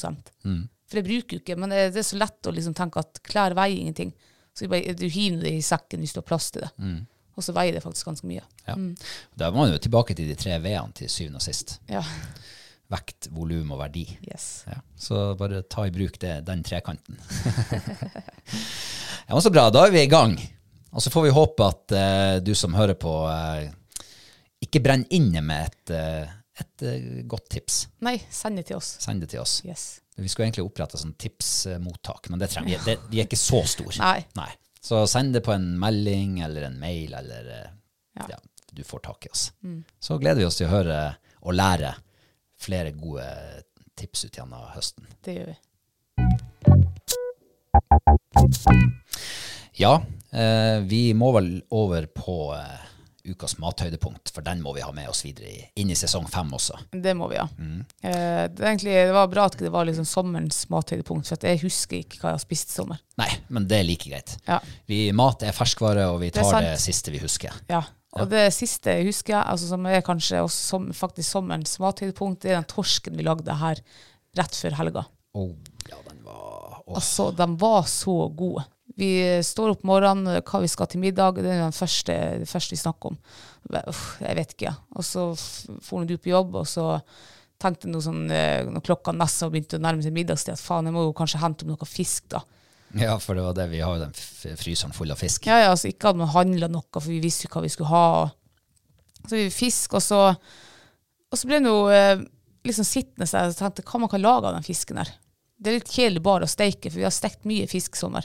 B: For jeg bruker jo ikke, men det, det er så lett å liksom tenke at klær veier ingenting. Så du, bare, du hiver det i sekken hvis du har plass til det. Og så veier det faktisk ganske mye.
A: Ja. Da var man jo tilbake til de tre V-ene til syvende og sist.
B: Ja.
A: Vekt, volum og verdi.
B: Yes.
A: Ja, så bare ta i bruk det, den trekanten. ja, men så bra, da er vi i gang. Og så får vi håpe at eh, du som hører på, eh, ikke brenner inne med et, eh, et eh, godt tips.
B: Nei, send det til oss.
A: Send det til oss.
B: Yes.
A: Vi skulle egentlig opprette sånn tipsmottak, men det trenger vi. Det, vi er ikke så store.
B: Nei.
A: Så send det på en melding eller en mail, eller eh,
B: Ja. Mm.
A: ja, du får tak i oss. Så gleder vi oss til å høre og lære flere gode tips ut gjennom høsten.
B: Det gjør vi.
A: Ja, eh, vi må vel over på eh, ukas mathøydepunkt, for den må vi ha med oss videre i, inn i sesong fem også.
B: Det må vi, ja. Eh, det, er egentlig, det var bra at ikke det var liksom sommerens mathøydepunkt, for at jeg husker ikke hva jeg har spist i sommer.
A: Nei, men det er like greit.
B: Ja.
A: Vi, mat er ferskvare, og vi
B: er
A: tar
B: sant.
A: det, siste vi husker.
B: Ja. Og det siste jeg husker, altså som er kanskje også som, faktisk sommerens mathøydepunkt, det er den torsken vi lagde her rett før helga.
A: Oh, ja, den var... åh.
B: Altså, den var så god. Vi står opp morgenen, hva vi skal til middag, det er den første, det første vi snakker om. Uff, jeg vet ikke. Og så for du på jobb, og så tenkte jeg noe sånn, eh, når klokka nesten begynte å nærme seg middagstid, at faen, jeg må jo kanskje hente opp noe fisk da.
A: Ja, for det var det. Vi har jo den f- fryseren full av fisk.
B: Ja, ja, altså ikke hadde man handla noe, for vi visste jo hva vi skulle ha. Så vi fisk, og så, og så ble det jo eh, liksom sittende der og tenkte hva man kan lage av den fisken her. Det er litt kjedelig bare å steike, for vi har stekt mye fisk i sommer.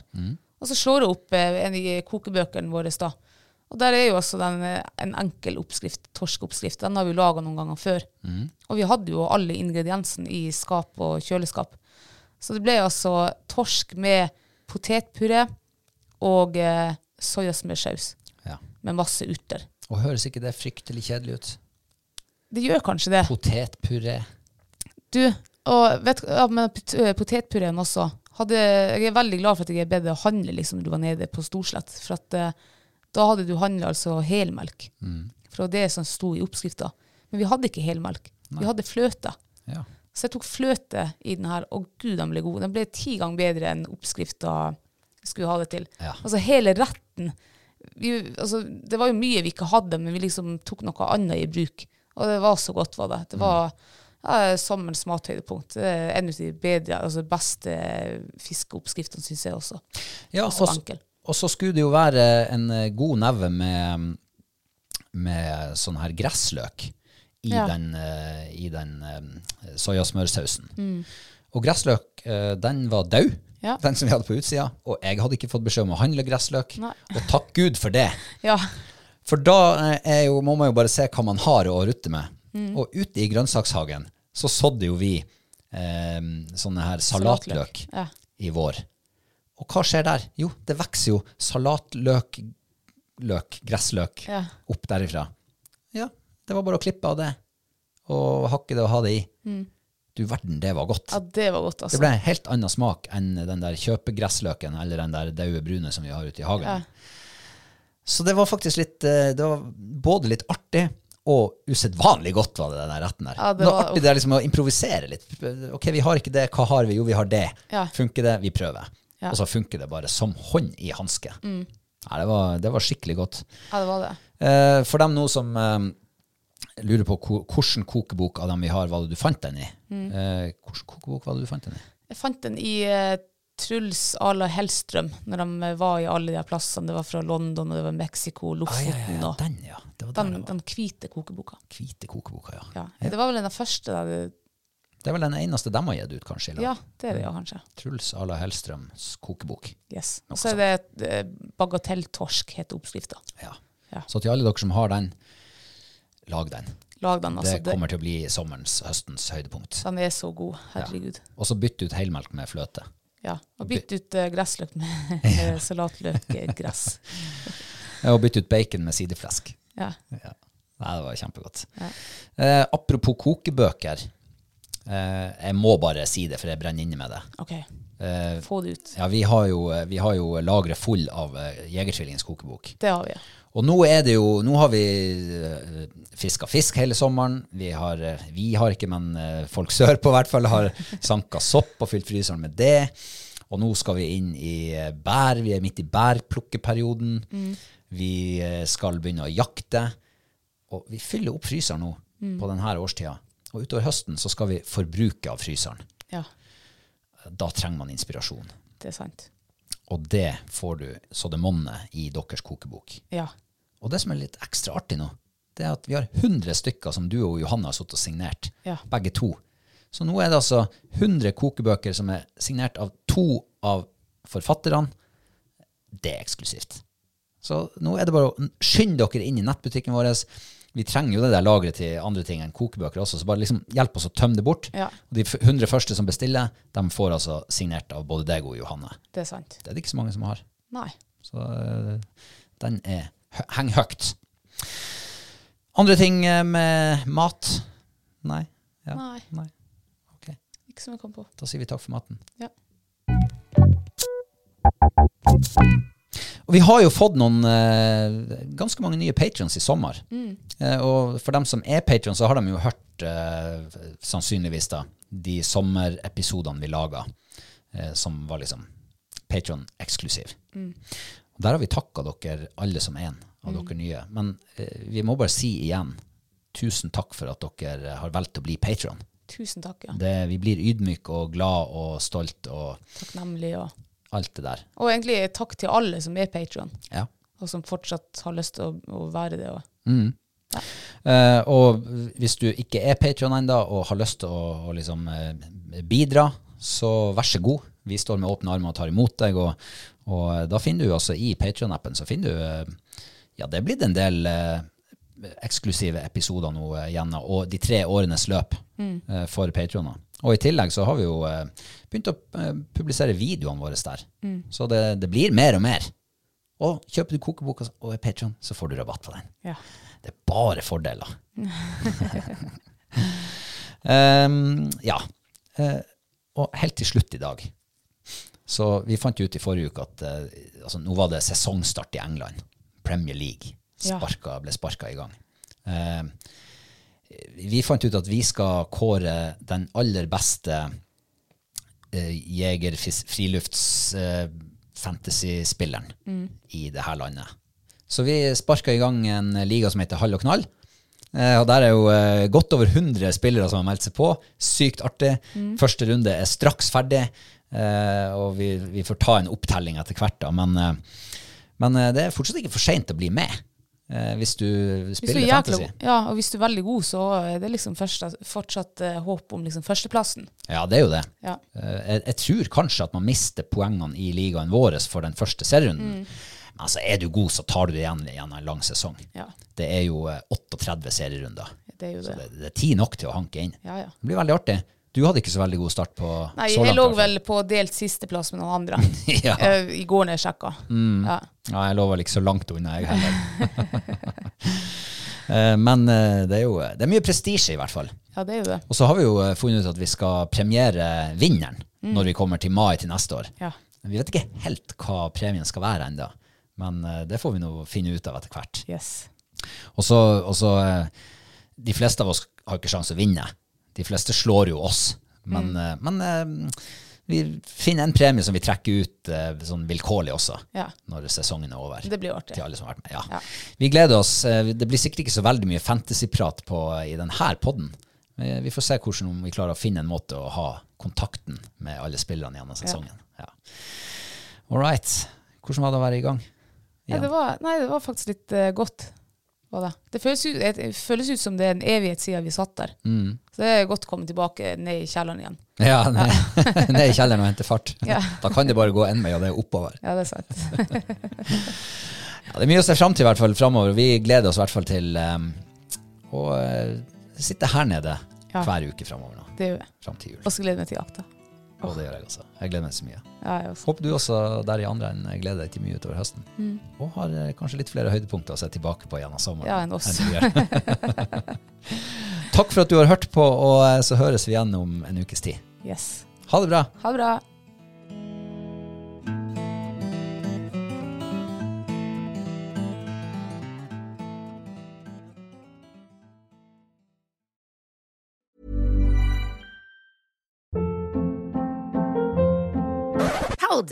B: Og så slår jeg opp eh, en i kokebøkene våre da. Og der er jo altså den, eh, en enkel oppskrift, torskeoppskrift. Den har vi laga noen ganger før. Og vi hadde jo alle ingrediensene i skap og kjøleskap. Så det ble altså torsk med potetpuré og eh, soyasmørsaus
A: Ja.
B: med masse urter.
A: Og høres ikke det fryktelig kjedelig ut?
B: Det gjør kanskje det.
A: Potetpuré.
B: Du, og vet, ja, men pot- eh, potetpureen også. Hadde, jeg er veldig glad for at jeg er bedre å handle liksom, når du var nede på Storslett. For at, eh, da hadde du handla altså helmelk. For det var det som sto i oppskrifta. Men vi hadde ikke helmelk. Vi hadde fløte.
A: Ja.
B: Så jeg tok fløte i den her, og gud, den ble god. Den ble ti ganger bedre enn oppskrifta skulle ha det til.
A: Ja.
B: Altså hele retten. Vi, altså, det var jo mye vi ikke hadde, men vi liksom tok noe annet i bruk. Og det var så godt, var det.
A: Mm.
B: Det var ja, sommerens mathøydepunkt. Det er En av de bedre, altså beste fiskeoppskriftene, syns jeg også.
A: Ja,
B: Og så enkel.
A: og så skulle det jo være en eh, god neve med, med sånn her gressløk i
B: Ja.
A: den, eh, i den eh, soyasmørsausen. Og gressløk, eh, den var død,
B: Mm. Ja.
A: den som vi hadde på utsida, og jeg hadde ikke fått beskjed om å handle gressløk,
B: Nei.
A: og takk Gud for det.
B: Ja.
A: For da eh, er jo, må man jo bare se hva man har å rutte med.
B: Mm.
A: Og ute i grønnsakshagen så sådde jo vi eh, sånne her salatløk
B: Ja.
A: i vår. Og hva skjer der? Jo, det vokser jo salatløk, løk, gressløk
B: Ja.
A: opp derifra. Ja, det var bare å klippe av det, og hakke det og ha det i.
B: Mm.
A: Du verden, det var godt.
B: ja, det var godt, altså.
A: Det ble en helt annen smak enn den der kjøpegressløken eller den der daue brune som vi har ute i hagen.
B: Ja.
A: Så det var faktisk litt eh, Det var både litt artig og usedvanlig godt, var det den der retten der.
B: Ja, det
A: det
B: var-
A: var artig det er liksom å improvisere litt. Ok, vi har ikke det, hva har vi? Jo, vi har det.
B: Ja.
A: Funker det? Vi prøver.
B: Ja. Mm.
A: Og så funker det bare som hånd i hanske. Nei, det var, det var skikkelig godt.
B: Ja, det var det.
A: Eh, for dem nå som eh, lurer på ko- hvilken kokebok av dem vi har, var det du fant den i?
B: Mm.
A: Eh, hvilken kokebok var det du fant den i?
B: Jeg fant den i eh, Truls Ala Hellstrøm, når de eh, var i alle de her plassene. Det var fra London, og det var Mexico, Lofoten og
A: Den, Ah, ja. Det var den, det
B: den,
A: var.
B: den hvite kokeboka.
A: hvite kokeboka, ja.
B: Ja. Det var vel den første da det,
A: Det er vel den eneste de har gitt ut, kanskje? Eller?
B: Ja, det er det jo kanskje.
A: Truls Ala Hellstrøms kokebok.
B: Yes.
A: Noe
B: Og så er det eh, bagatelltorsk, heter oppskrifta.
A: Ja.
B: Ja.
A: Så til alle dere som har den, lag den.
B: Lag den, altså.
A: det
B: Det
A: kommer til å bli sommerens, høstens høydepunkt.
B: den er så god. Herregud.
A: Og så bytt ut helmelk med fløte.
B: Ja. Og bytt ut eh, gressløk med med salatløkgress.
A: Ja, Og bytt ut bacon med sideflesk.
B: Ja.
A: Ja. Nei, det var kjempegodt.
B: Ja.
A: Eh, apropos kokebøker. Eh, jeg må bare si det, for jeg brenner inne med det.
B: OK.
A: Eh,
B: Få det ut.
A: ja, vi har jo, eh, vi har jo lagret full av eh, Jegertvillingens kokebok.
B: Det har vi.
A: Og nå er det jo Nå har vi uh, fiska fisk hele sommeren. Vi har, eh, vi har ikke, men eh, folk sørpå i hvert fall har sanka sopp og fylt fryseren med det. Og nå skal vi inn i eh, bær. Vi er midt i bærplukkeperioden. Vi eh, skal begynne å jakte. Og vi fyller opp fryseren nå på denne årstida. Og utover høsten så skal vi forbruke av fryseren.
B: Ja.
A: Da trenger man inspirasjon.
B: Det er sant.
A: Og det får du så det monner i deres kokebok.
B: Ja.
A: Og det som er litt ekstra artig nå, det er at vi har 100 stykker som du og Johanne har sittet og signert.
B: Ja.
A: Begge to. Så nå er det altså 100 kokebøker som er signert av to av forfatterne. Det er eksklusivt. Så nå er det bare å skynde dere inn i nettbutikken vår. Vi trenger jo det der lageret til andre ting enn kokebøker også, så bare liksom hjelp oss å tømme det bort.
B: Ja.
A: Og de f- 100 første som bestiller, de får altså signert av både deg og Johanne.
B: Det er sant.
A: Det er det ikke så mange som har.
B: Nei.
A: Så eh, den er hø- heng høyt. Andre ting eh, med mat? Nei. Ja.
B: Nei.
A: Nei. Ok,
B: Ikke som jeg kom på.
A: da sier vi takk for maten.
B: Ja.
A: Og vi har jo fått noen eh, ganske mange nye patrons i sommer. Eh, og for dem som er patrons, så har de jo hørt eh, sannsynligvis da de sommerepisodene vi laga, eh, som var liksom patron eksklusiv. Og der har vi takka dere alle som en av dere nye. Men eh, vi må bare si igjen tusen takk for at dere har valgt å bli patron.
B: Tusen takk, ja.
A: Det- Vi blir ydmyke og glad og stolt og
B: Takknemlig. Og,
A: alt det der.
B: og egentlig takk til alle som er Patron,
A: Ja.
B: og som fortsatt har lyst til å, å være det. Og,
A: Eh, og hvis du ikke er Patreon ennå og har lyst til å, å liksom, eh, bidra, så vær så god. Vi står med åpne armer og tar imot deg. Og, og da finner du altså i Patreon-appen så finner du eh, Ja, det er blitt en del eh, eksklusive episoder nå eh, gjennom og de tre årenes løp eh, for Patreoner. Og i tillegg så har vi jo eh, begynt å eh, publisere videoene våre der. Så det, det blir mer og mer. Og kjøper du kokeboka og er Patreon, så får du rabatt på den.
B: ja.
A: Det er bare fordeler. Ehm, ja. Eh, og helt til slutt i dag. Så vi fant jo ut i forrige uke at eh, altså, nå var det sesongstart i England. Premier League
B: Ja.
A: sparka, ble sparka i gang. Ehm, vi fant ut at vi skal kåre den aller beste eh, jeger, fis- frilufts, eh, fantasy-spilleren
B: Mm.
A: i det her landet. Så vi sparka i gang en liga som heter Hall og knall, Eh, Og der er jo eh, godt over 100 spillere som har meldt seg på. Sykt artig.
B: Mm.
A: Første runde er straks ferdig, eh, og vi, vi får ta en opptelling etter hvert, da. Men, eh, men eh, det er fortsatt ikke for seint å bli med eh, hvis du
B: Hvis du
A: spiller
B: er jækla,
A: fantasy.
B: ja, og hvis du er veldig god, så er det liksom første, fortsatt eh, håp om liksom førsteplassen.
A: Ja, det er jo det.
B: Ja.
A: Eh, Jeg, jeg tror kanskje at man mister poengene i ligaen vår for den første
B: Mm.
A: serierunden. Men altså, er du god, så tar du det igjen gjennom en lang sesong.
B: Ja.
A: Det er jo eh, 38 serierunder.
B: Det er jo
A: Så
B: det.
A: det, det er tid nok til å hanke inn.
B: Ja, ja.
A: Det blir veldig artig. Du hadde ikke så veldig god start på
B: Nei,
A: så langt.
B: jeg lå
A: i hvert fall.
B: vel på delt sisteplass med noen andre
A: ja. Mm.
B: eh, i går når jeg sjekka. Ja.
A: ja, jeg lå vel ikke så langt unna, jeg heller. Eh, Men eh, det er jo det er mye prestisje, i hvert fall.
B: ja, det er jo det.
A: Og så har vi jo eh, funnet ut at vi skal premiere vinneren
B: Mm.
A: når vi kommer til mai til neste år.
B: Ja.
A: Vi vet ikke helt hva premien skal være ennå, men eh, det får vi nå finne ut av etter hvert.
B: Yes.
A: Og så, og så eh, De fleste av oss har ikke sjanse å vinne. De fleste slår jo oss. Men, eh, men eh, vi finner en premie som vi trekker ut eh, sånn vilkårlig også,
B: Ja.
A: når sesongen er over.
B: Det blir jo artig.
A: Til alle som har liksom vært med. Ja.
B: Ja.
A: Vi gleder oss. Eh, Det blir sikkert ikke så veldig mye fantasyprat på- i denne podden. Eh, Vi får se hvordan om vi klarer å finne en måte å ha kontakten med alle spillerne gjennom sesongen. Ja. All right. Hvordan var det å være i gang?
B: Nei, det var, nei, det var faktisk litt eh, godt. Var det det føles, ut, det- det føles ut som det er en evighet siden vi satt der. Så det er godt å komme tilbake ned i kjelleren igjen.
A: Ja, ned, ned i kjelleren og hente fart.
B: Ja.
A: Da kan det bare gå én vei, og det er oppover.
B: Ja, det er sant.
A: Ja, det er mye å se fram til i hvert fall framover. Vi gleder oss i hvert fall til um, å eh, sitte her nede
B: Ja.
A: hver uke framover nå.
B: Det gjør jeg.
A: Fram til jul.
B: Og så gleder jeg meg til jakta.
A: Og det gjør jeg også. Jeg gleder meg så mye.
B: Ja, jeg også.
A: Håper du også der i andre enden gleder deg til mye utover høsten. Og har eh, kanskje litt flere høydepunkter å se tilbake på gjennom sommeren.
B: Ja, enn oss.
A: du gjør. Takk for at du har hørt på, og eh, så høres vi igjen om en ukes tid.
B: Yes.
A: Ha det bra!
B: Ha det bra.
C: Hold